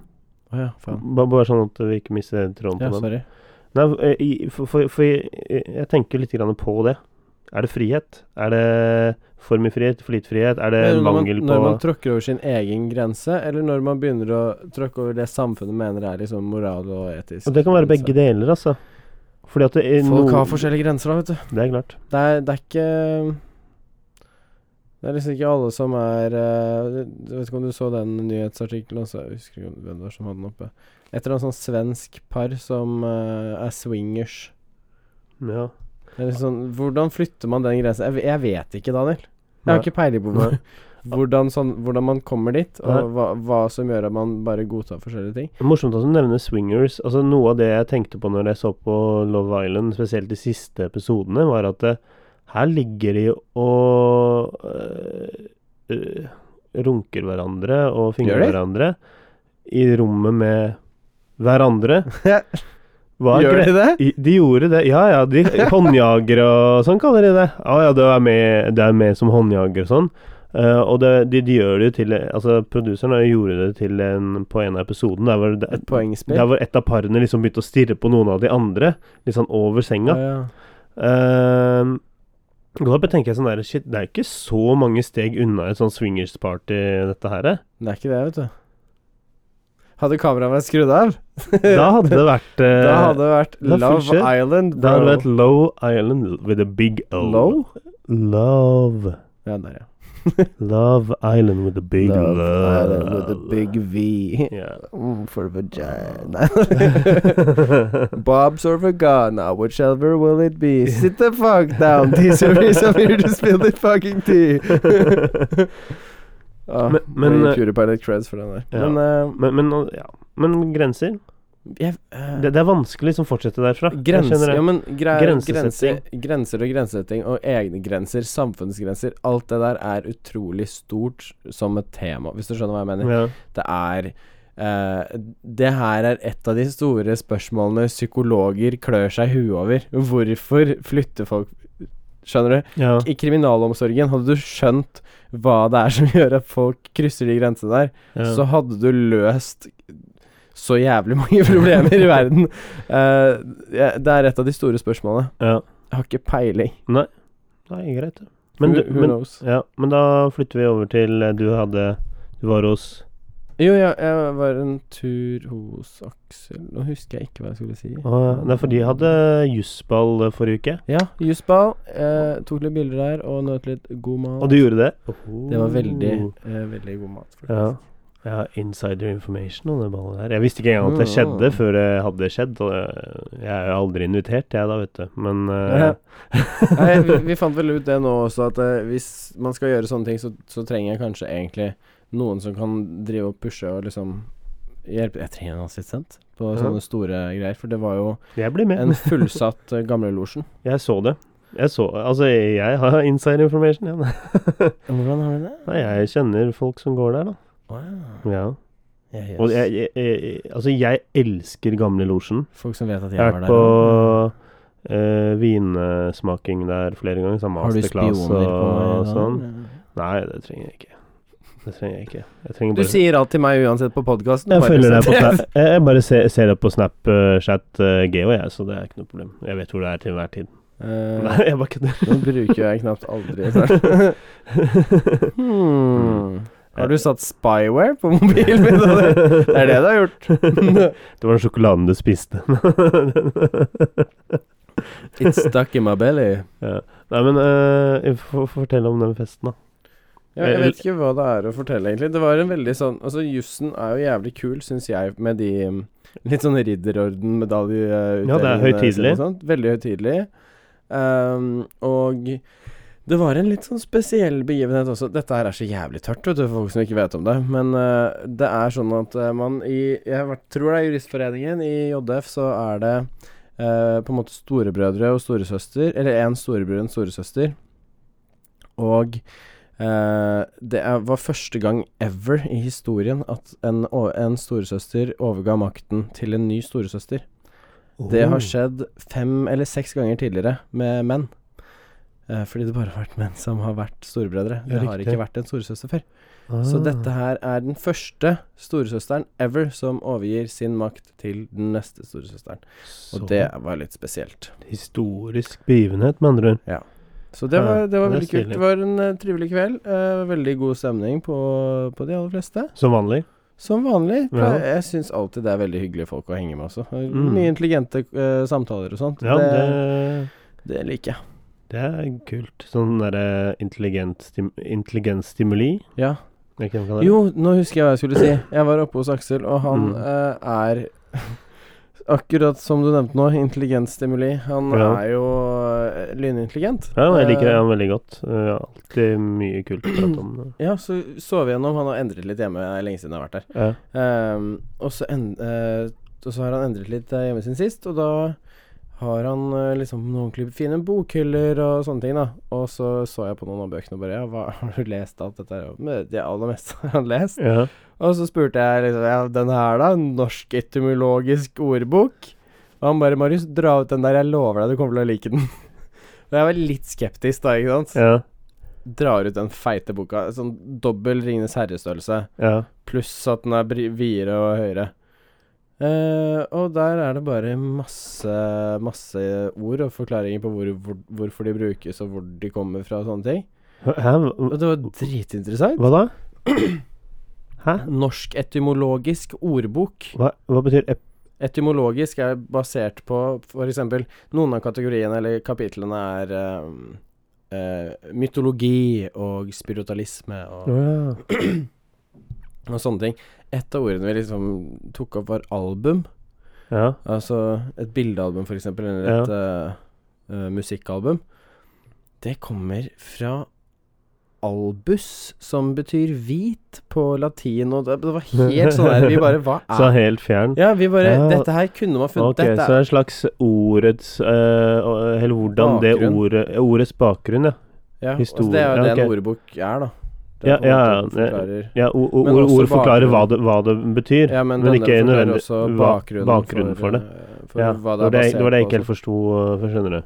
S2: Å ja, faen.
S1: Ba- Bare sånn at vi ikke mister tråden
S2: Ja,
S1: på den.
S2: sorry.
S1: eh, Nei, eh, i- for, for, for jeg, jeg tenker litt grann på det. Er det frihet? Er det for mye frihet? For lite frihet? Er det
S2: Men når man,
S1: mangel på
S2: når man tråkker over sin egen grense, eller når man begynner å tråkke over det samfunnet mener er liksom moral og etisk
S1: Og det kan være
S2: grense.
S1: begge deler, altså. Fordi at det er
S2: Folk
S1: noen-
S2: har forskjellige grenser, da, vet du.
S1: Det er klart.
S2: Det er, det er ikke Det er liksom ikke alle som er eh, Jeg vet ikke om du så den nyhetsartikkelen også, jeg husker ikke hvem det var som hadde den oppe. Et eller annet sånn svensk par som eh, er swingers.
S1: Ja.
S2: Det er liksom sånn, hvordan flytter man den grensen? Jeg, jeg vet ikke, Daniel. Jeg har ikke peiling på
S1: <laughs>
S2: hvor,
S1: Nei.
S2: hvordan, sånn, hvordan man kommer dit,
S1: Nei.
S2: og hva, hva som gjør at man bare godtar forskjellige ting.
S1: Morsomt at du nevner swingers. Altså Noe av det jeg tenkte på når jeg så på Love Island, spesielt de siste episodene, var at eh, her ligger de og eh, eh, runker hverandre og fingrer
S2: Gjør de?
S1: hverandre i rommet med hverandre.
S2: <laughs>
S1: Hva er
S2: Gjør
S1: gre-
S2: de det?
S1: I- De gjorde det, ja ja. De, håndjagere og sånn kaller de det. Ja ja, det er med, det er med som håndjager og sånn. Eh, og det, de, de gjør det jo til Altså, produseren gjorde det til en, på en av episoden der hvor, det,
S2: Et poengspill?
S1: der hvor et av parene liksom begynte å stirre på noen av de andre, litt sånn over senga.
S2: Ja, ja.
S1: Uh, da tenker jeg sånn der Shit, det er jo ikke så mange steg unna et sånn swingers-party, dette her. eh.
S2: Det er ikke det, vet du. Hadde kameraet vært skrudd av,
S1: Da hadde det
S2: <laughs>
S1: vært eh,
S2: da hadde det vært
S1: da
S2: Love
S1: funker.
S2: Island.
S1: da hadde det
S2: bro.
S1: vært Low Island with a big O.
S2: Low?
S1: Love.
S2: Ja, der, ja.
S1: Love Island with a big love. <laughs>
S2: V.
S1: Yeah.
S2: Mm, for vagina. <laughs> Bobs or vagana, whichever will it
S1: <laughs>
S2: be? Sit the fuck down, teaser, I'm here to spill the fucking
S1: <laughs>
S2: tea. ah,
S1: Men- men,
S2: må gi
S1: eh,
S2: PewDiePie litt creds for den der.
S1: ja.
S2: Men, eh,
S1: men, men, ja. men grenser
S2: jeg, eh,
S1: det, det er vanskelig som fortsetter derfra. Jeg
S2: Grenser,
S1: skjønner
S2: ja,
S1: det.
S2: men gre
S1: Grensesetting.
S2: grenser, grenser og grensesetting og egne grenser, samfunnsgrenser, alt det der er utrolig stort som et tema, hvis du skjønner hva jeg mener.
S1: Ja.
S2: Det er eh, Det her er et av de store spørsmålene psykologer klør seg i huet over. Hvorfor flytter folk Skjønner du?
S1: Ja.
S2: I kriminalomsorgen, hadde du skjønt hva det er som gjør at folk krysser de grensene der,
S1: Ja.
S2: så hadde du løst så jævlig <laughs> mange problemer i verden. Eh, ja, det er et av de store spørsmålene.
S1: ja.
S2: Jeg har ikke peiling.
S1: Nei, greit. det. Men,
S2: who,
S1: du-
S2: who
S1: men,
S2: knows?
S1: ja, men da flytter vi over til eh, du hadde Du var hos
S2: Jo, ja, jeg var en tur hos Aksel Nå husker jeg ikke hva jeg skulle si.
S1: Å, ja. Nei, for de hadde jussball eh, forrige uke,
S2: Ja, jusball. Eh, tok litt bilder der og nøt litt god mat.
S1: og du gjorde det? Oh,
S2: Det var veldig, eh, veldig god mat. faktisk.
S1: Ja. Jeg har insider information om det ballet her. Jeg visste ikke engang at det skjedde
S2: Mm.
S1: før det hadde skjedd. Og eh, jeg er jo aldri invitert, jeg da, vet du. Men
S2: Ja.
S1: eh,
S2: Nei, vi, vi fant vel ut det nå også, at eh, hvis man skal gjøre sånne ting, så, så trenger jeg kanskje egentlig noen som kan drive og pushe og liksom hjelpe Jeg trenger en assistent på
S1: Ja.
S2: sånne store greier, for det var jo
S1: jeg blir med.
S2: en fullsatt eh, gamlelosjen.
S1: Jeg så det. Jeg så Altså, jeg har <laughs> insider information, ja.
S2: Hvordan har du det?
S1: Nei, jeg kjenner folk som går der, da.
S2: Wow.
S1: Ja.
S2: Ja, yes.
S1: Og jeg, jeg, jeg Altså, jeg elsker Gamlelosjen.
S2: Folk som vet at jeg,
S1: Jeg har
S2: var
S1: vært
S2: der.
S1: på
S2: også.
S1: eh, vinsmaking der flere ganger. Sånn
S2: har du spioner
S1: masterclass
S2: på
S1: og,
S2: meg?
S1: og
S2: da?
S1: sånn. Nei, det trenger jeg ikke. Det trenger jeg ikke. Jeg trenger
S2: Du
S1: bare
S2: sier alt til meg uansett på podkasten.
S1: Jeg følger
S2: <laughs>
S1: deg på Snap. Jeg jeg bare ser, ser deg på Snapchat eh, Geo, jeg, så det er ikke noe problem. Jeg vet hvor det er til enhver tid. Nei, jeg bare kødder.
S2: Eh, Nå bruker jeg knapt aldri
S1: <laughs>
S2: Snap. hmm. Har du satt spyware på mobilen min? <laughs> Daniel? Det er det du har gjort.
S1: <laughs> Det var den sjokoladen du spiste. <laughs>
S2: It's stuck in my belly.
S1: Nei, men eh, for, fortell om den festen, da.
S2: Ja, jeg vet ikke hva det er å fortelle, egentlig. Det var en veldig sånn Altså, jussen er jo jævlig kul, syns jeg, med de um, litt sånn ridderorden-medaljeutdelingene.
S1: Ja, det er høytidelig.
S2: Veldig høytidelig. Um, og det var en litt sånn spesiell begivenhet også. Dette her er så jævlig tørt, vet du, for folk som ikke vet om det. Men eh, det er sånn at eh, man i Jeg har vært- tror det er Juristforeningen. I JF så er det eh, på en måte storebrødre og storesøster. Eller én storebror og en storesøster. Og eh, det er, var første gang ever i historien at en, o- en storesøster overga makten til en ny storesøster. Det
S1: Oh.
S2: har skjedd fem eller seks ganger tidligere med menn. Eh, fordi det bare har vært menn som har vært storebrødre.
S1: Ja,
S2: Det har
S1: riktig.
S2: ikke vært en storesøster før.
S1: Ah.
S2: Så dette her er den første storesøsteren ever som overgir sin makt til den neste storesøsteren. Og
S1: Så
S2: det var litt spesielt.
S1: Historisk begivenhet, med andre ord.
S2: Ja. Så det var, det var
S1: Ja, det
S2: veldig
S1: er
S2: kult. Det var en eh, trivelig kveld. eh, veldig god stemning på, på de aller fleste.
S1: Som vanlig.
S2: Som vanlig.
S1: Ja.
S2: pleier- Jeg syns alltid det er veldig hyggelige folk å henge med også. Eh,
S1: Mm.
S2: Mye intelligente eh, samtaler og sånt.
S1: Ja,
S2: det,
S1: det,
S2: det liker jeg.
S1: det er kult. Sånn derre intelligent stim- intelligensstimuli.
S2: Ja.
S1: Er ikke det man kaller det?
S2: Jo, nå husker jeg hva jeg skulle si. Jeg var oppe hos Aksel, og han
S1: Mm.
S2: eh, er <laughs> Akkurat som du nevnte nå, intelligensstimuli. Han
S1: Ja.
S2: er jo eh, lynintelligent.
S1: Ja, jeg liker
S2: Eh,
S1: han veldig godt. Eh, Alltid mye kult å prate om.
S2: Eh, Ja, så så vi gjennom. Han har endret litt hjemme. Det er lenge siden jeg har vært der.
S1: Ja.
S2: Ehm, og, så en, eh, og så har han endret litt eh, hjemme sin sist, og da har han eh, liksom noen ordentlig fine bokhyller og sånne ting, da. Og så så jeg på noen av bøkene og bare Ja, hva <laughs> har du lest alt dette her? Men Det aller <laughs> meste har han lest.
S1: Ja.
S2: Og så spurte jeg liksom Ja, den her, da? Norsk etymologisk ordbok? Og han bare Marius, dra ut den der. Jeg lover deg, du kommer til å like den. <laughs> Og jeg var litt skeptisk da, ikke sant.
S1: Ja.
S2: Drar ut den feite boka. Sånn dobbel Ringenes herre-størrelse.
S1: ja.
S2: Pluss at den er bri- videre og høyere. Eh, og der er det bare masse, masse ord og forklaringer på hvor, hvor, hvorfor de brukes, og hvor de kommer fra og sånne ting.
S1: Hæ?
S2: Og det var dritinteressant.
S1: Hva
S2: <clears throat>
S1: da? Hæ?
S2: Norsk etymologisk ordbok.
S1: Hva, hva betyr ep...
S2: Etymologisk er basert på f.eks. noen av kategoriene eller kapitlene er eh, eh, mytologi og spiritualisme og,
S1: Å ja.
S2: og sånne ting. Et av ordene vi liksom tok opp, var album.
S1: Ja.
S2: Altså et bildealbum, f.eks., eller
S1: Ja.
S2: et eh, eh, musikkalbum. Det kommer fra albus, som betyr hvit på latin, og det, det var helt sånn der Vi bare Hva
S1: <laughs> Så
S2: er
S1: helt fjern.
S2: Ja, vi bare
S1: Ja.
S2: Dette her kunne man funnet
S1: Ok, så
S2: dette
S1: det
S2: er-
S1: er en slags ordets eh, og- Eller hvordan det
S2: Bakgrunn.
S1: ordet Ordets bakgrunn, ja.
S2: Ja,
S1: Historie.
S2: altså det er jo
S1: Ja,
S2: det en
S1: ok.
S2: ordbok er, da. Det
S1: Ja,
S2: er på en
S1: ja,
S2: måte
S1: ja.
S2: forklarer-
S1: ja o- o-
S2: Men
S1: ord,
S2: også
S1: ord forklarer hva
S2: bakgrunn.
S1: det, hva det betyr.
S2: Ja,
S1: men
S2: men, denne
S1: ikke
S2: forklarer
S1: nødvendig-
S2: også
S1: hva-
S2: bakgrunnen,
S1: bakgrunnen for det.
S2: eh, For
S1: Ja,
S2: hva
S1: det var det, jeg-
S2: basert
S1: det var det jeg
S2: på
S1: ikke
S2: og
S1: helt forsto, eh, skjønner du.
S2: sånn.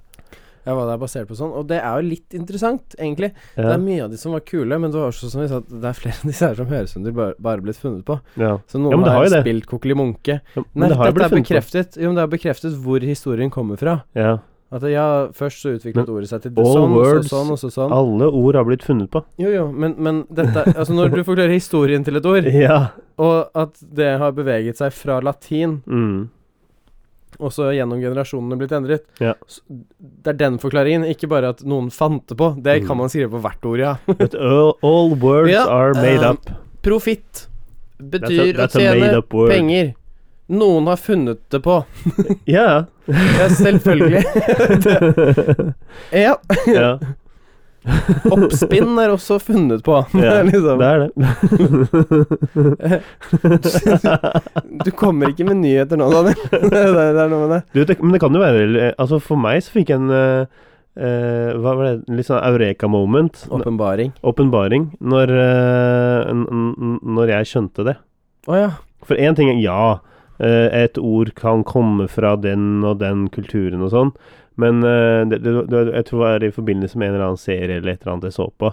S2: Ja, hva det er basert på og sånn. Og det er jo litt interessant, egentlig. Det
S1: Ja.
S2: er mye av de som var kule, men det var også som vi sa, at det er flere av disse her som høres ut som de bare, bare blitt funnet på.
S1: Ja.
S2: Så noen
S1: Ja, men det har
S2: har,
S1: jo det.
S2: spilt kokelimunke.
S1: Ja, Men
S2: Nei,
S1: det har jo
S2: dette
S1: blitt
S2: er
S1: funnet på.
S2: bekreftet. Jo, men det er bekreftet hvor historien kommer fra.
S1: Ja.
S2: At det- ja, først så utviklet ordet seg til det
S1: all
S2: sånn, og
S1: words
S2: så sånn, og så sånn.
S1: Alle ord har blitt funnet på.
S2: Jo, jo, men, men dette Altså, når
S1: <laughs>
S2: du forklarer historien til et ord
S1: Ja.
S2: Og at det har beveget seg fra latin,
S1: Mm.
S2: og så gjennom generasjonene blitt endret.
S1: Ja.
S2: S- Det er den forklaringen, ikke bare at noen fant det på. Det
S1: Mm.
S2: kan man skrive på
S1: <laughs>
S2: hvert ord, ja.
S1: But all, all words
S2: Ja,
S1: are made
S2: eh,
S1: up.
S2: Profitt
S1: That's a,
S2: betyr
S1: that's
S2: å
S1: a made
S2: tjene
S1: up word.
S2: penger. Noen har funnet det på. <laughs>
S1: Ja. <laughs>
S2: Ja, selvfølgelig. ja.
S1: <laughs> ja.
S2: Oppspinn er også funnet på.
S1: <laughs> Ja,
S2: <laughs> liksom.
S1: Det er det.
S2: Du kommer ikke med nyheter nå, Daniel. <laughs> det, er, det er noe med det.
S1: Du, det. Men det kan jo være eh, Altså, for meg så fikk jeg en eh, eh, hva var det? En Litt sånn eureka-moment.
S2: Åpenbaring.
S1: Åpenbaring. Når, eh, n- n- når jeg skjønte det.
S2: Å ja.
S1: For én ting er ja, eh, et ord kan komme fra den og den kulturen og sånn, men eh, det, det, det, jeg tror det var i forbindelse med en eller annen serie eller et eller annet jeg så på.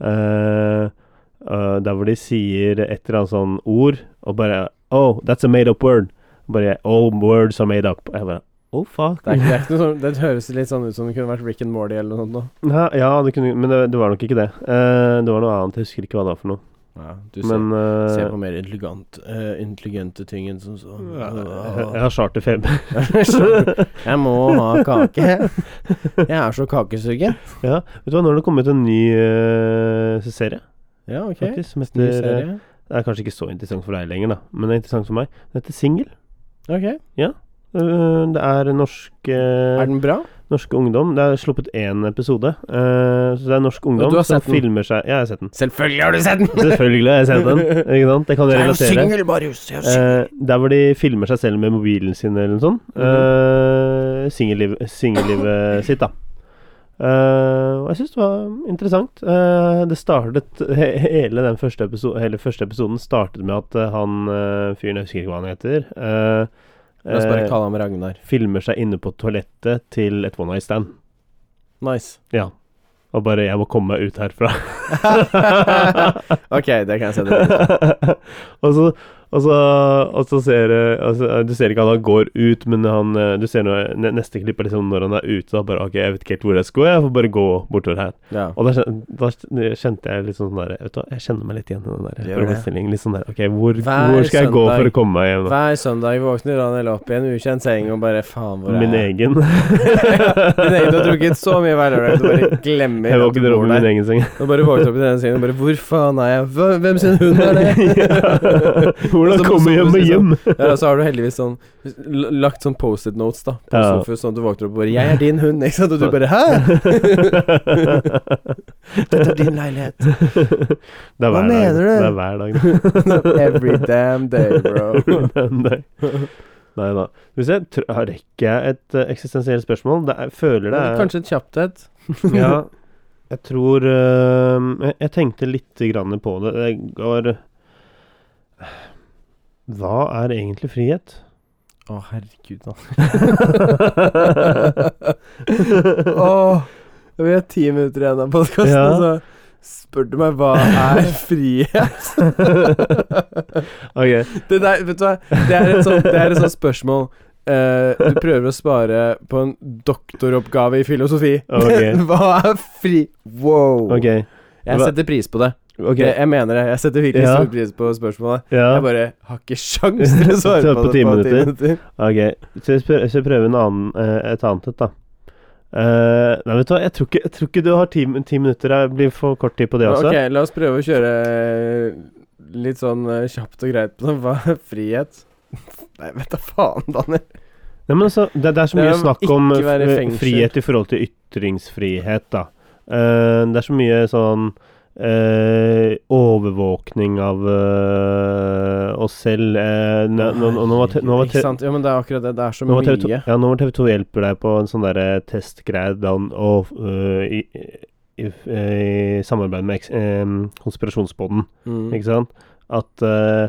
S1: Eh, eh, der hvor de sier et eller annet sånn ord, og bare Oh, that's a made up word. Og Bare All words are made up. Og jeg bare Oh, fuck. <laughs>
S2: Det, er, ikke- det, er ikke noe sånn, det høres litt sånn ut som det kunne vært Rick and Morty eller noe sånt. Nå.
S1: Ja, ja det kunne, men det, det var nok ikke det. Eh, det var noe annet. Jeg husker ikke hva det var for noe.
S2: Ja, du ser
S1: Men eh,
S2: Se på mer elegant, eh, intelligente ting enn som så.
S1: ja, jeg, jeg har charterfeber.
S2: <laughs> jeg må ha kake. Jeg er så kakesugen.
S1: Vet du hva, nå har det kommet en ny eh, serie.
S2: Ja, ok.
S1: faktisk, som
S2: Ny
S1: heter eh,
S2: serie.
S1: Det er kanskje ikke så interessant for deg lenger, da, men det er interessant for meg. Den heter Singel.
S2: Ok.
S1: Uh, Det er norsk eh,
S2: Er den bra?
S1: Norsk ungdom. Det er sluppet én episode, eh, så det er norsk ungdom
S2: du har
S1: som
S2: sett den?
S1: filmer seg Ja, jeg har sett den.
S2: Selvfølgelig har du sett den!
S1: Selvfølgelig har jeg sett den. Ikke sant? Det kan
S2: <laughs>
S1: jeg relatere.
S2: Marius. Jeg er singel.
S1: Eh, der hvor de filmer seg selv med mobilen sin eller noe sånt. Uh, Singellivet sitt, da. Eh, og jeg syns det var interessant. Eh, det startet he Hele den første, episo hele første episoden startet med at eh, han eh, fyren, jeg husker ikke hva han heter, eh,
S2: La oss bare
S1: eh,
S2: kalle ham Ragnar.
S1: filmer seg inne på toalettet til et one night stand.
S2: Nice.
S1: Ja. Og bare 'Jeg må komme meg ut herfra'.
S2: ok, det kan jeg se. Det.
S1: <laughs> og så Og så, og så ser du altså, Du ser ikke han går ut, men han eh, Du ser når, ne- neste klipp er liksom når han er ute. Da bare OK, jeg vet ikke helt hvor jeg skal gå, jeg får bare gå bortover her.
S2: Ja.
S1: Og da, kjen- da kjen- kjente jeg litt sånn der Vet du hva, jeg kjenner meg litt igjen i den der
S2: Gjør det.
S1: problemstillingen. Litt sånn der OK, hvor,
S2: Hver
S1: hvor skal jeg gå
S2: søndag.
S1: for å komme meg hjem? da?
S2: Hver søndag våkner Daniel opp i en ukjent seng og bare Faen, hvor er
S1: Min
S2: jeg?
S1: egen.
S2: <laughs>
S1: <laughs>
S2: Min egen. Du har drukket så mye Valorant, du bare glemmer
S1: Jeg
S2: at du
S1: våkner opp
S2: bor
S1: i min
S2: der.
S1: egen seng.
S2: Og bare våkner opp i denne
S1: <laughs>
S2: sengen og bare Hvor faen er jeg? Hva- Hvem sin hund er det?
S1: <laughs> Hvordan
S2: Så-
S1: komme
S2: så-
S1: hjem og
S2: så-
S1: hjem?
S2: Ja, og så har du heldigvis sånn l- lagt sånn Post-It notes da på
S1: Ja.
S2: sofaen, sånn at du våkner opp og bare 'Jeg er din hund', ikke sant? Og du bare 'hæ?!
S1: <laughs>
S2: Dette er din leilighet.
S1: Det er
S2: Hva
S1: hver
S2: mener
S1: dag.
S2: du?
S1: Det er hver dag.
S2: <laughs> <laughs> Every damn
S1: <laughs>
S2: day, bro.
S1: Nei. Nei da. Hvis jeg tr rekker jeg et eh, eksistensielt spørsmål? Det er, føler det er
S2: Kanskje et kjapt et.
S1: <laughs> ja, Jeg tror eh, jeg, jeg tenkte litt grann på det. Det går Hva er egentlig frihet?
S2: Å, herregud,
S1: <laughs>
S2: da.
S1: Hva
S2: <laughs> Åh, vi har ti minutter igjen av podkasten,
S1: Ja.
S2: og så spør du meg hva er frihet?
S1: <laughs> Ok.
S2: det der, vet du hva, det er et sånt, det er et sånt spørsmål eh, du prøver å spare på en doktoroppgave i filosofi.
S1: Ok.
S2: <laughs> Hva er fri... Wow.
S1: Ok.
S2: Jeg
S1: Hva-
S2: setter pris på det.
S1: ok.
S2: Jeg, jeg mener det. Jeg setter virkelig
S1: Ja.
S2: stor pris på spørsmålet.
S1: Ja.
S2: Jeg bare har ikke sjans til å svare
S1: Svare på
S2: på,
S1: ti
S2: det på ti
S1: minutter.
S2: minutter.
S1: Ok, så jeg, spør, så jeg prøver en annen, eh, et annet et, da. Eh, nei, vet du hva, jeg tror ikke, jeg tror ikke du har ti, ti minutter. Det blir for kort tid på det også.
S2: Ok, la oss prøve å kjøre eh, litt sånn eh, kjapt og greit på det. Hva <laughs> er frihet? Nei, vet da faen, Daniel.
S1: Nei, men altså, det, det er så
S2: Det er
S1: mye
S2: å
S1: snakk om
S2: ikke være i
S1: eh,
S2: fengsel.
S1: frihet i forhold til ytringsfrihet, da. Eh, det er så mye sånn eh, overvåkning av eh, oss selv. eh, nå- nå- nå- nå var te- nå var te-
S2: Ikke sant? Ja, men det er akkurat det. Det er så
S1: Nå må TV2,
S2: mye.
S1: ja, nå må TV2 hjelper deg på en sånn der eh, testgreie da han- og øh, i, i, eh, i samarbeid med eks- em, konspirasjonspodden,
S2: Mm.
S1: ikke sant? At eh,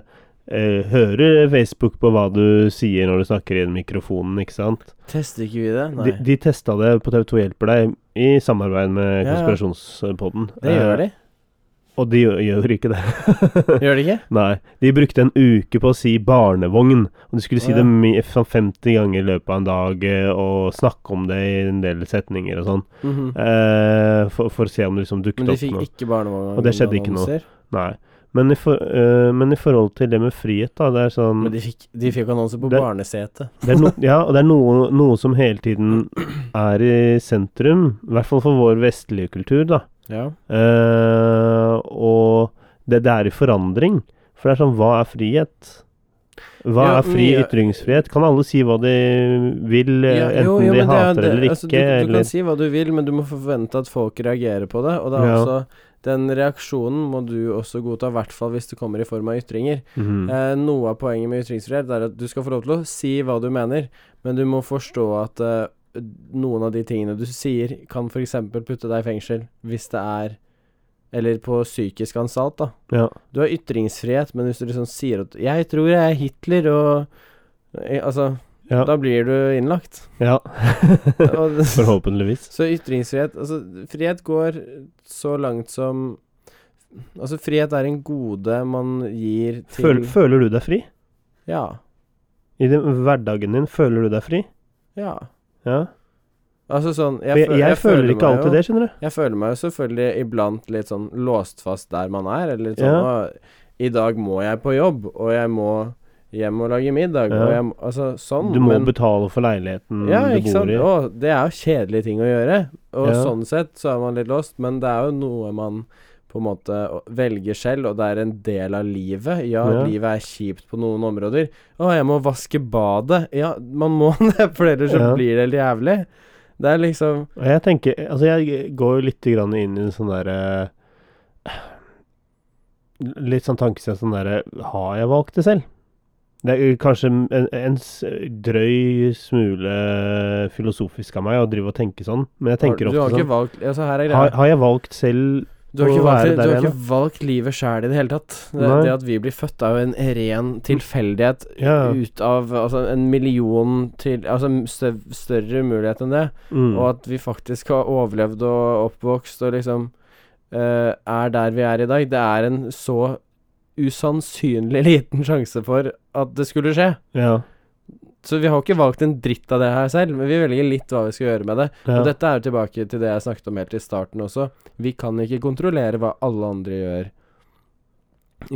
S1: eh, hører Facebook på hva du sier når du snakker i den mikrofonen, ikke sant?
S2: Tester ikke vi det? Nei.
S1: De, de testa det på TV2 hjelper deg i samarbeid med
S2: Ja, ja.
S1: konspirasjonspodden.
S2: det
S1: <laughs>
S2: gjør
S1: Eh,
S2: de.
S1: Og de gjør, gjør ikke det.
S2: Gjør de ikke?
S1: Nei, de brukte en uke på å si barnevogn, og de skulle si
S2: Å, ja.
S1: det mi- sånn 50 ganger i løpet av en dag, eh, og snakke om det i en del setninger og sånn,
S2: Mhm.
S1: eh, for, for å se om det liksom
S2: Men
S1: dukket
S2: de
S1: opp
S2: fikk
S1: noe.
S2: ikke barnevogn.
S1: Og det skjedde ikke noe.
S2: Mm.
S1: Nei. Men i, for, eh, men i forhold til det med frihet, da, det er sånn
S2: Men de fikk, de fikk annonser på
S1: Det-
S2: barnesete.
S1: det er no, Ja, og det er noe, noe som hele tiden er i sentrum, i hvert fall for vår vestlige kultur, da.
S2: Ja.
S1: Eh, og det, det er i forandring. For det er sånn, hva er frihet? Hva
S2: Ja,
S1: er fri
S2: men ja-
S1: ytringsfrihet? Kan alle si hva de vil, eh,
S2: Ja,
S1: enten
S2: jo, jo,
S1: de
S2: men det er
S1: hater
S2: det.
S1: eller ikke?
S2: Altså, du, du
S1: eller,
S2: kan si hva du vil, men du må forvente at folk reagerer på det. Og det er
S1: Ja.
S2: også den reaksjonen må du også godta, i hvert fall hvis det kommer i form av ytringer.
S1: Mhm.
S2: Eh, noe av poenget med ytringsfrihet er at du skal få lov til å si hva du mener, men du må forstå at eh, noen av de tingene du sier, kan f.eks. putte deg i fengsel hvis det er Eller på psykisk anstalt, da.
S1: ja.
S2: Du har ytringsfrihet, men hvis du liksom sier at 'Jeg tror jeg er Hitler', og eh, Altså,
S1: Ja.
S2: da blir
S1: <laughs>
S2: du innlagt. <laughs>
S1: ja.
S2: Og-
S1: Forhåpentligvis.
S2: <laughs> så ytringsfrihet Altså, frihet går så langt som Altså, frihet er en gode man gir til
S1: Føl, føler du deg fri?
S2: Ja.
S1: I den, hverdagen din, føler du deg fri?
S2: Ja.
S1: Ja.
S2: Altså sånn
S1: Jeg, jeg,
S2: fø-
S1: føler ikke
S2: meg
S1: alltid
S2: jo,
S1: det, skjønner du.
S2: Jeg føler meg jo selvfølgelig iblant litt sånn låst fast der man er, eller litt sånn
S1: Ja.
S2: «Å, I dag må jeg på jobb, og jeg må hjem og lage middag,
S1: Ja.
S2: og jeg må Altså sånn,
S1: Du må
S2: men
S1: betale for leiligheten
S2: ja,
S1: du bor
S2: ikke sant?
S1: i.
S2: Å, det er jo kjedelige ting å gjøre. Og
S1: Ja.
S2: sånn sett så er man litt lost, men det er jo noe man på en måte å- velger selv, og det er en del av livet. Ja,
S1: Ja.
S2: livet er kjipt på noen områder. Å, jeg må vaske badet. Ja, man må <laughs> det, for ellers
S1: Ja.
S2: så blir det helt jævlig. Det er liksom
S1: Og jeg tenker Altså, jeg går jo litt grann inn i en sånn derre Litt sånn tankesett sånn derre Har jeg valgt det selv? Det er jo kanskje en, en s- drøy smule filosofisk av meg å drive og tenke sånn, men jeg tenker
S2: har, Du
S1: ofte
S2: har ikke
S1: sånn
S2: valgt Altså, her er greia.
S1: har, har jeg valgt selv
S2: Du har
S1: å
S2: ikke
S1: være
S2: valgt, du
S1: der
S2: har
S1: igjen,
S2: ikke valgt livet sjæl i det hele tatt. Det,
S1: Nei. Mm.
S2: det at vi blir født, er jo en ren tilfeldighet
S1: Ja.
S2: ut av altså, en million til Altså støv, større mulighet enn det.
S1: mm,
S2: Og at vi faktisk har overlevd og oppvokst og liksom eh, er der vi er i dag. Det er en så usannsynlig <laughs> liten sjanse for at det skulle skje.
S1: Ja.
S2: Så vi har jo ikke valgt en dritt av det her selv, men vi velger litt hva vi skal gjøre med det.
S1: ja.
S2: Og dette er jo tilbake til det jeg snakket om helt i starten også. Vi kan ikke kontrollere hva alle andre gjør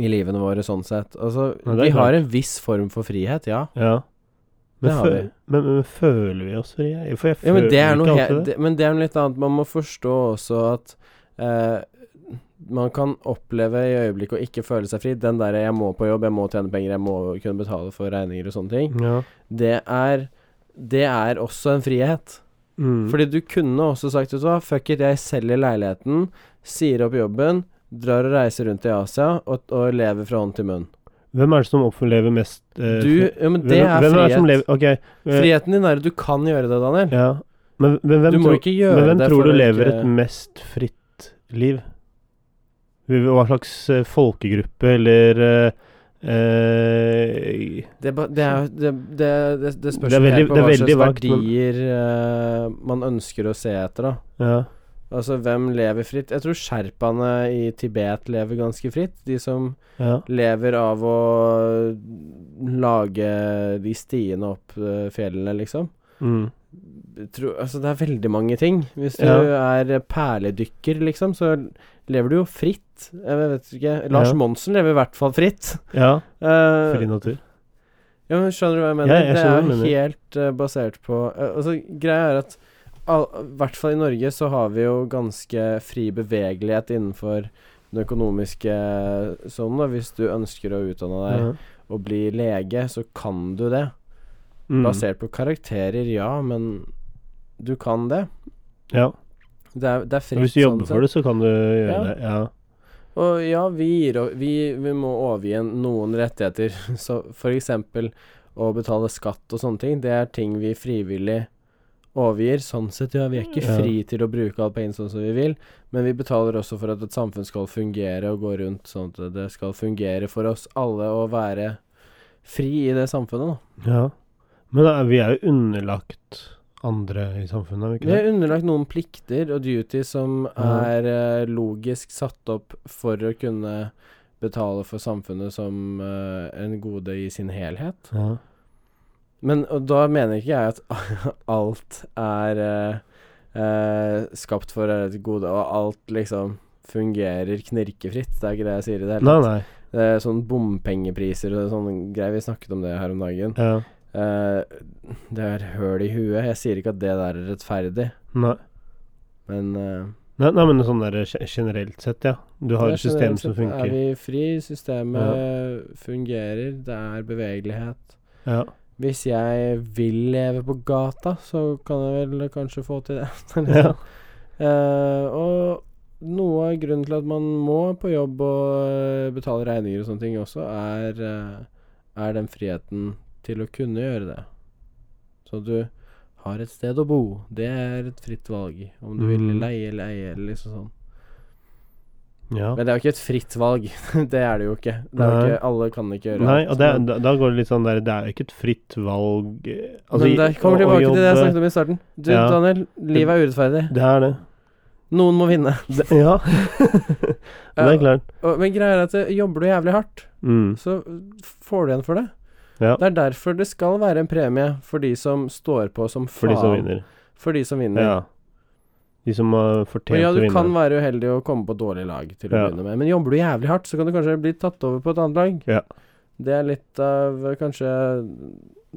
S2: i livene våre, sånn sett. Altså,
S1: Nei, det er
S2: vi har
S1: klart.
S2: en viss form for frihet, ja.
S1: ja. Men,
S2: Det har
S1: fø-
S2: vi.
S1: men, men føler vi oss frie? For jeg
S2: Ja, men
S1: føler
S2: det er noe
S1: ikke
S2: he
S1: alltid det.
S2: det, men det er noe litt annet. Man må forstå også at eh, man kan oppleve i øyeblikket å ikke føle seg fri. Den derre 'jeg må på jobb, jeg må tjene penger, jeg må kunne betale for regninger' og sånne ting,
S1: Ja.
S2: det er, det er også en frihet.
S1: Mm.
S2: Fordi du kunne også sagt, vet du hva, fuck it, jeg selger leiligheten, sier opp jobben, drar og reiser rundt i Asia og, og lever fra hånd til munn.
S1: Hvem er det som opplever mest eh,
S2: Du,
S1: fri-
S2: ja, men
S1: hvem,
S2: det er
S1: hvem Er det som lever?
S2: frihet.
S1: Ok, eh,
S2: Friheten din er at du kan gjøre det, Daniel.
S1: Ja. Men, men hvem
S2: Du må
S1: tror,
S2: ikke gjøre
S1: men hvem
S2: det
S1: tror
S2: for
S1: du
S2: å
S1: lever
S2: ikke-
S1: et mest fritt liv? Hva slags eh, folkegruppe eller eh, eh,
S2: Det, er ba- det, er, det, det, det, det spørs
S1: Det er
S2: jo
S1: veldig-
S2: helt på
S1: det er
S2: hva
S1: veldig
S2: slags
S1: vagt, men-
S2: verdier eh, man ønsker å se etter, da.
S1: Ja.
S2: Altså, hvem lever fritt? Jeg tror sherpaene i Tibet lever ganske fritt. De som
S1: ja.
S2: lever av å lage de stiene opp eh, fjellene, liksom.
S1: Mm.
S2: Tro, altså, det er veldig mange ting. Hvis du
S1: Ja.
S2: er perledykker, liksom, så lever du jo fritt. Jeg vet ikke Lars
S1: Ja.
S2: Monsen lever i hvert fall fritt.
S1: ja.
S2: Eh,
S1: Fri natur.
S2: Ja, men skjønner du hva jeg mener?
S1: Ja, jeg
S2: det
S1: skjønner
S2: er
S1: hva du
S2: jo
S1: mener.
S2: helt eh, basert på eh, Altså, greia er at all, i hvert fall i Norge så har vi jo ganske fri bevegelighet innenfor den økonomiske sonen. da. Hvis du ønsker å utdanne deg
S1: Ja.
S2: og bli lege, så kan du det.
S1: Mm.
S2: Basert på karakterer, ja, men du kan det.
S1: Ja.
S2: Det er, det er fritt.
S1: Og hvis du jobber for det, så kan du gjøre
S2: sånn Ja.
S1: det. Ja.
S2: Og ja, vi, gir, o- vi, vi må overgi en- noen rettigheter. <laughs> Så for eksempel å betale skatt og sånne ting, det er ting vi frivillig overgir. Sånn sett, ja, vi er ikke
S1: Ja.
S2: fri til å bruke all pengene sånn som vi vil, men vi betaler også for at et samfunn skal fungere og gå rundt sånn at det skal fungere for oss alle å være fri i det samfunnet, da.
S1: ja. Men da, er- vi er jo underlagt andre i samfunnet, er vi
S2: Vi
S1: ikke det?
S2: er underlagt noen plikter og duty som
S1: Ja.
S2: er eh, logisk satt opp for å kunne betale for samfunnet som eh, en gode i sin helhet.
S1: Ja.
S2: Men og da mener ikke jeg at <laughs> alt er eh, eh, skapt for et gode, og alt liksom fungerer knirkefritt. Det er ikke det jeg sier i det hele
S1: Nei,
S2: tatt.
S1: nei.
S2: Det er sånn bompengepriser og sånne greier. Vi snakket om det her om dagen.
S1: Ja.
S2: Eh, det er høl i huet. Jeg sier ikke at det der er rettferdig,
S1: Nei.
S2: men eh,
S1: Nei, nei, men sånn der ge- generelt sett, ja. Du har
S2: Det er
S1: et system
S2: generelt
S1: som
S2: sett Er
S1: funker.
S2: vi fri, systemet fungerer, det er bevegelighet.
S1: Ja.
S2: Hvis jeg vil leve på gata, så kan jeg vel kanskje få til det.
S1: Ja.
S2: <laughs> Eh, og noe av grunnen til at man må på jobb og eh, betale regninger og sånne ting også, er, eh, er den friheten til å kunne gjøre det. Så du har et sted å bo. Det er et fritt valg. Om du vil
S1: Mhm.
S2: leie eller eie eller liksom sånn.
S1: ja.
S2: Men det er jo ikke et fritt valg. <laughs> det er det jo ikke. Det er jo
S1: Nei.
S2: ikke alle kan ikke gjøre
S1: Nei,
S2: alt,
S1: og det, er-
S2: men-
S1: da, da går det litt sånn der Det er jo ikke et fritt valg eh, altså,
S2: Men
S1: i-
S2: det
S1: å-
S2: kommer
S1: å
S2: tilbake til det jeg
S1: jobbe-
S2: snakket om i starten. Du,
S1: Ja.
S2: Daniel, livet er urettferdig.
S1: Det er det.
S2: Noen må vinne.
S1: det
S2: <laughs>
S1: ja. <laughs> det er klart.
S2: Og, men greia er at eh, jobber du jævlig hardt,
S1: Mm.
S2: så får du igjen for det.
S1: Ja.
S2: Det er derfor det skal være en premie for de som står på som
S1: For
S2: faen.
S1: de som vinner.
S2: For de som vinner.
S1: Ja. De som har fortjent
S2: Og ja, du
S1: å vinne.
S2: kan være uheldig og komme på dårlig lag til å
S1: Ja.
S2: begynne med, men jobber du jævlig hardt, så kan du kanskje bli tatt over på et annet lag.
S1: Ja.
S2: Det er litt av eh, kanskje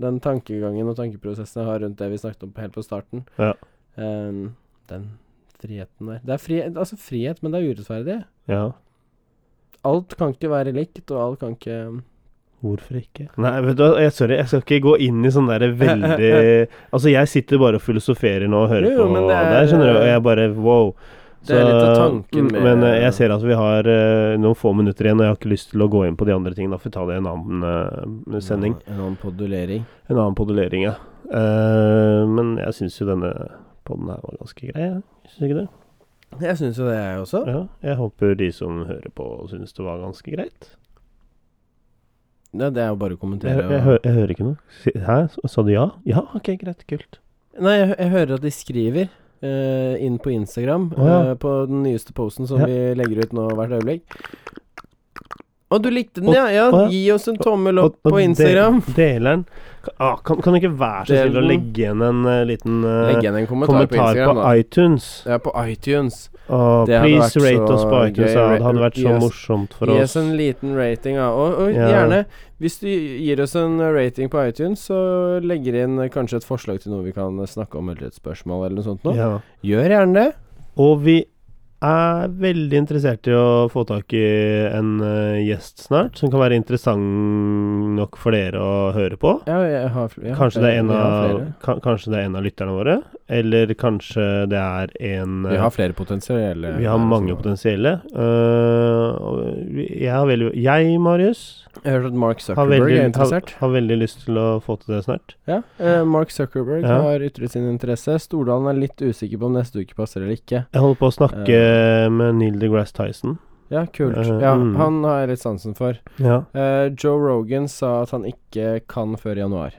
S2: den tankegangen og tankeprosessen jeg har rundt det vi snakket om helt på starten.
S1: Ja.
S2: Ehm, den friheten der. Det er frihet, altså frihet, men det er urettferdig.
S1: Ja.
S2: Alt kan ikke være likt, og alt kan ikke
S1: Hvorfor ikke? Nei, vet du hva, jeg, sorry, jeg skal ikke gå inn i sånn derre
S2: <laughs>
S1: veldig Altså, jeg sitter bare og filosoferer nå og hører
S2: Jo, jo,
S1: på
S2: men det
S1: det
S2: er-
S1: der, skjønner du, og jeg bare wow.
S2: Det er litt av tanken med-
S1: Men eh, jeg ser at vi har eh, noen få minutter igjen, og jeg har ikke lyst til å gå inn på de andre tingene. Da får vi ta det i en annen eh, sending.
S2: En annen podulering.
S1: En annen podulering, ja. Eh, men jeg syns jo denne poden her var ganske grei, jeg. Syns ikke det?
S2: Jeg syns jo det, jeg også.
S1: Ja, jeg håper de som hører på, syns det var ganske greit.
S2: Ja, det er jo bare å
S1: Jeg,
S2: kommentere.
S1: jeg, hø- jeg hører ikke noe. Si- Hæ, sa du ja? Ja, ok, greit, kult.
S2: Nei, jeg, hø- jeg hører at de skriver eh, inn på Instagram
S1: Å, ja.
S2: eh, på den nyeste posten som
S1: Ja.
S2: vi legger ut nå hvert øyeblikk. Å, du likte den, ja. ja.
S1: Å, ja.
S2: Gi oss en tommel
S1: Og-
S2: opp på
S1: og
S2: Instagram.
S1: del- Deler den. Kan- Ah, kan, kan du ikke være så
S2: Del
S1: snill å
S2: den.
S1: legge igjen en eh, liten eh,
S2: Legg igjen en kommentar,
S1: kommentar
S2: på Instagram, da.
S1: iTunes.
S2: Ja, på iTunes.
S1: Åh,
S2: Det hadde
S1: please
S2: vært
S1: rate
S2: så
S1: oss på iTunes.
S2: gøy.
S1: Ja, det hadde vært så
S2: Gi oss-
S1: morsomt for
S2: Gi
S1: oss.
S2: oss en liten rating, ja. Og, og
S1: Ja.
S2: gjerne, hvis du gir oss en rating på iTunes, så legger inn eh, kanskje et forslag til noe vi kan eh, snakke om, eller et spørsmål eller noe sånt noe.
S1: Ja.
S2: Gjør gjerne det.
S1: Og vi er veldig interessert i å få tak i en eh, gjest snart, som kan være interessant nok for dere å høre på.
S2: Ja, jeg har, fl- jeg har
S1: Kanskje det,
S2: flere.
S1: er en
S2: Vi har
S1: av,
S2: flere.
S1: ka- kanskje det er en av lytterne våre, eller kanskje det er en
S2: Vi
S1: eh,
S2: har flere potensielle
S1: Vi har mange potensielle. Eh, og vi- jeg har veldig Jeg, Marius,
S2: Jeg har hørt at Mark
S1: har
S2: Zuckerberg er
S1: veldig, har,
S2: interessert.
S1: har veldig lyst til å få til det snart.
S2: Ja, eh, Mark Zuckerberg
S1: Ja.
S2: har ytret sin interesse. Stordalen er litt usikker på om neste uke passer eller ikke.
S1: Jeg holder på å snakke med Neil deGrasse Tyson.
S2: Ja, kult.
S1: Eh,
S2: ja,
S1: mm.
S2: Han har jeg litt sansen for.
S1: Ja.
S2: Eh, Joe Rogan sa at han ikke kan før januar.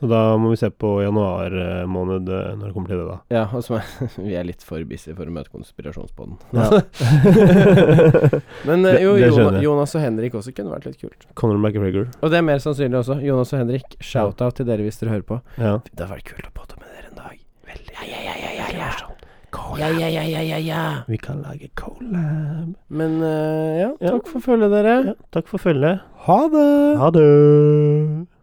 S1: Så da må vi se på januar eh, måned eh, når det kommer til det, da.
S2: Ja, og som er, <laughs> vi er litt for busy for å møte konspirasjonspodden.
S1: Ja.
S2: <laughs> Men eh,
S1: Det-
S2: jo,
S1: det skjønner
S2: Jonas,
S1: jeg.
S2: Jonas og Henrik også kunne vært litt kult.
S1: Conor McGregor.
S2: Og det er mer sannsynlig også. Jonas og Henrik, shout-out til dere hvis dere hører på.
S1: Ja.
S2: Det hadde vært kult å podde med dere en dag. Veldig. Ja, ja, ja, ja, ja, ja. Ja, ja, ja, ja, ja, ja.
S1: Vi kan lage collab.
S2: Men eh, ja,
S1: Ja.
S2: takk for følget, dere.
S1: Ja, takk for følget.
S2: Ha det!
S1: Ha det!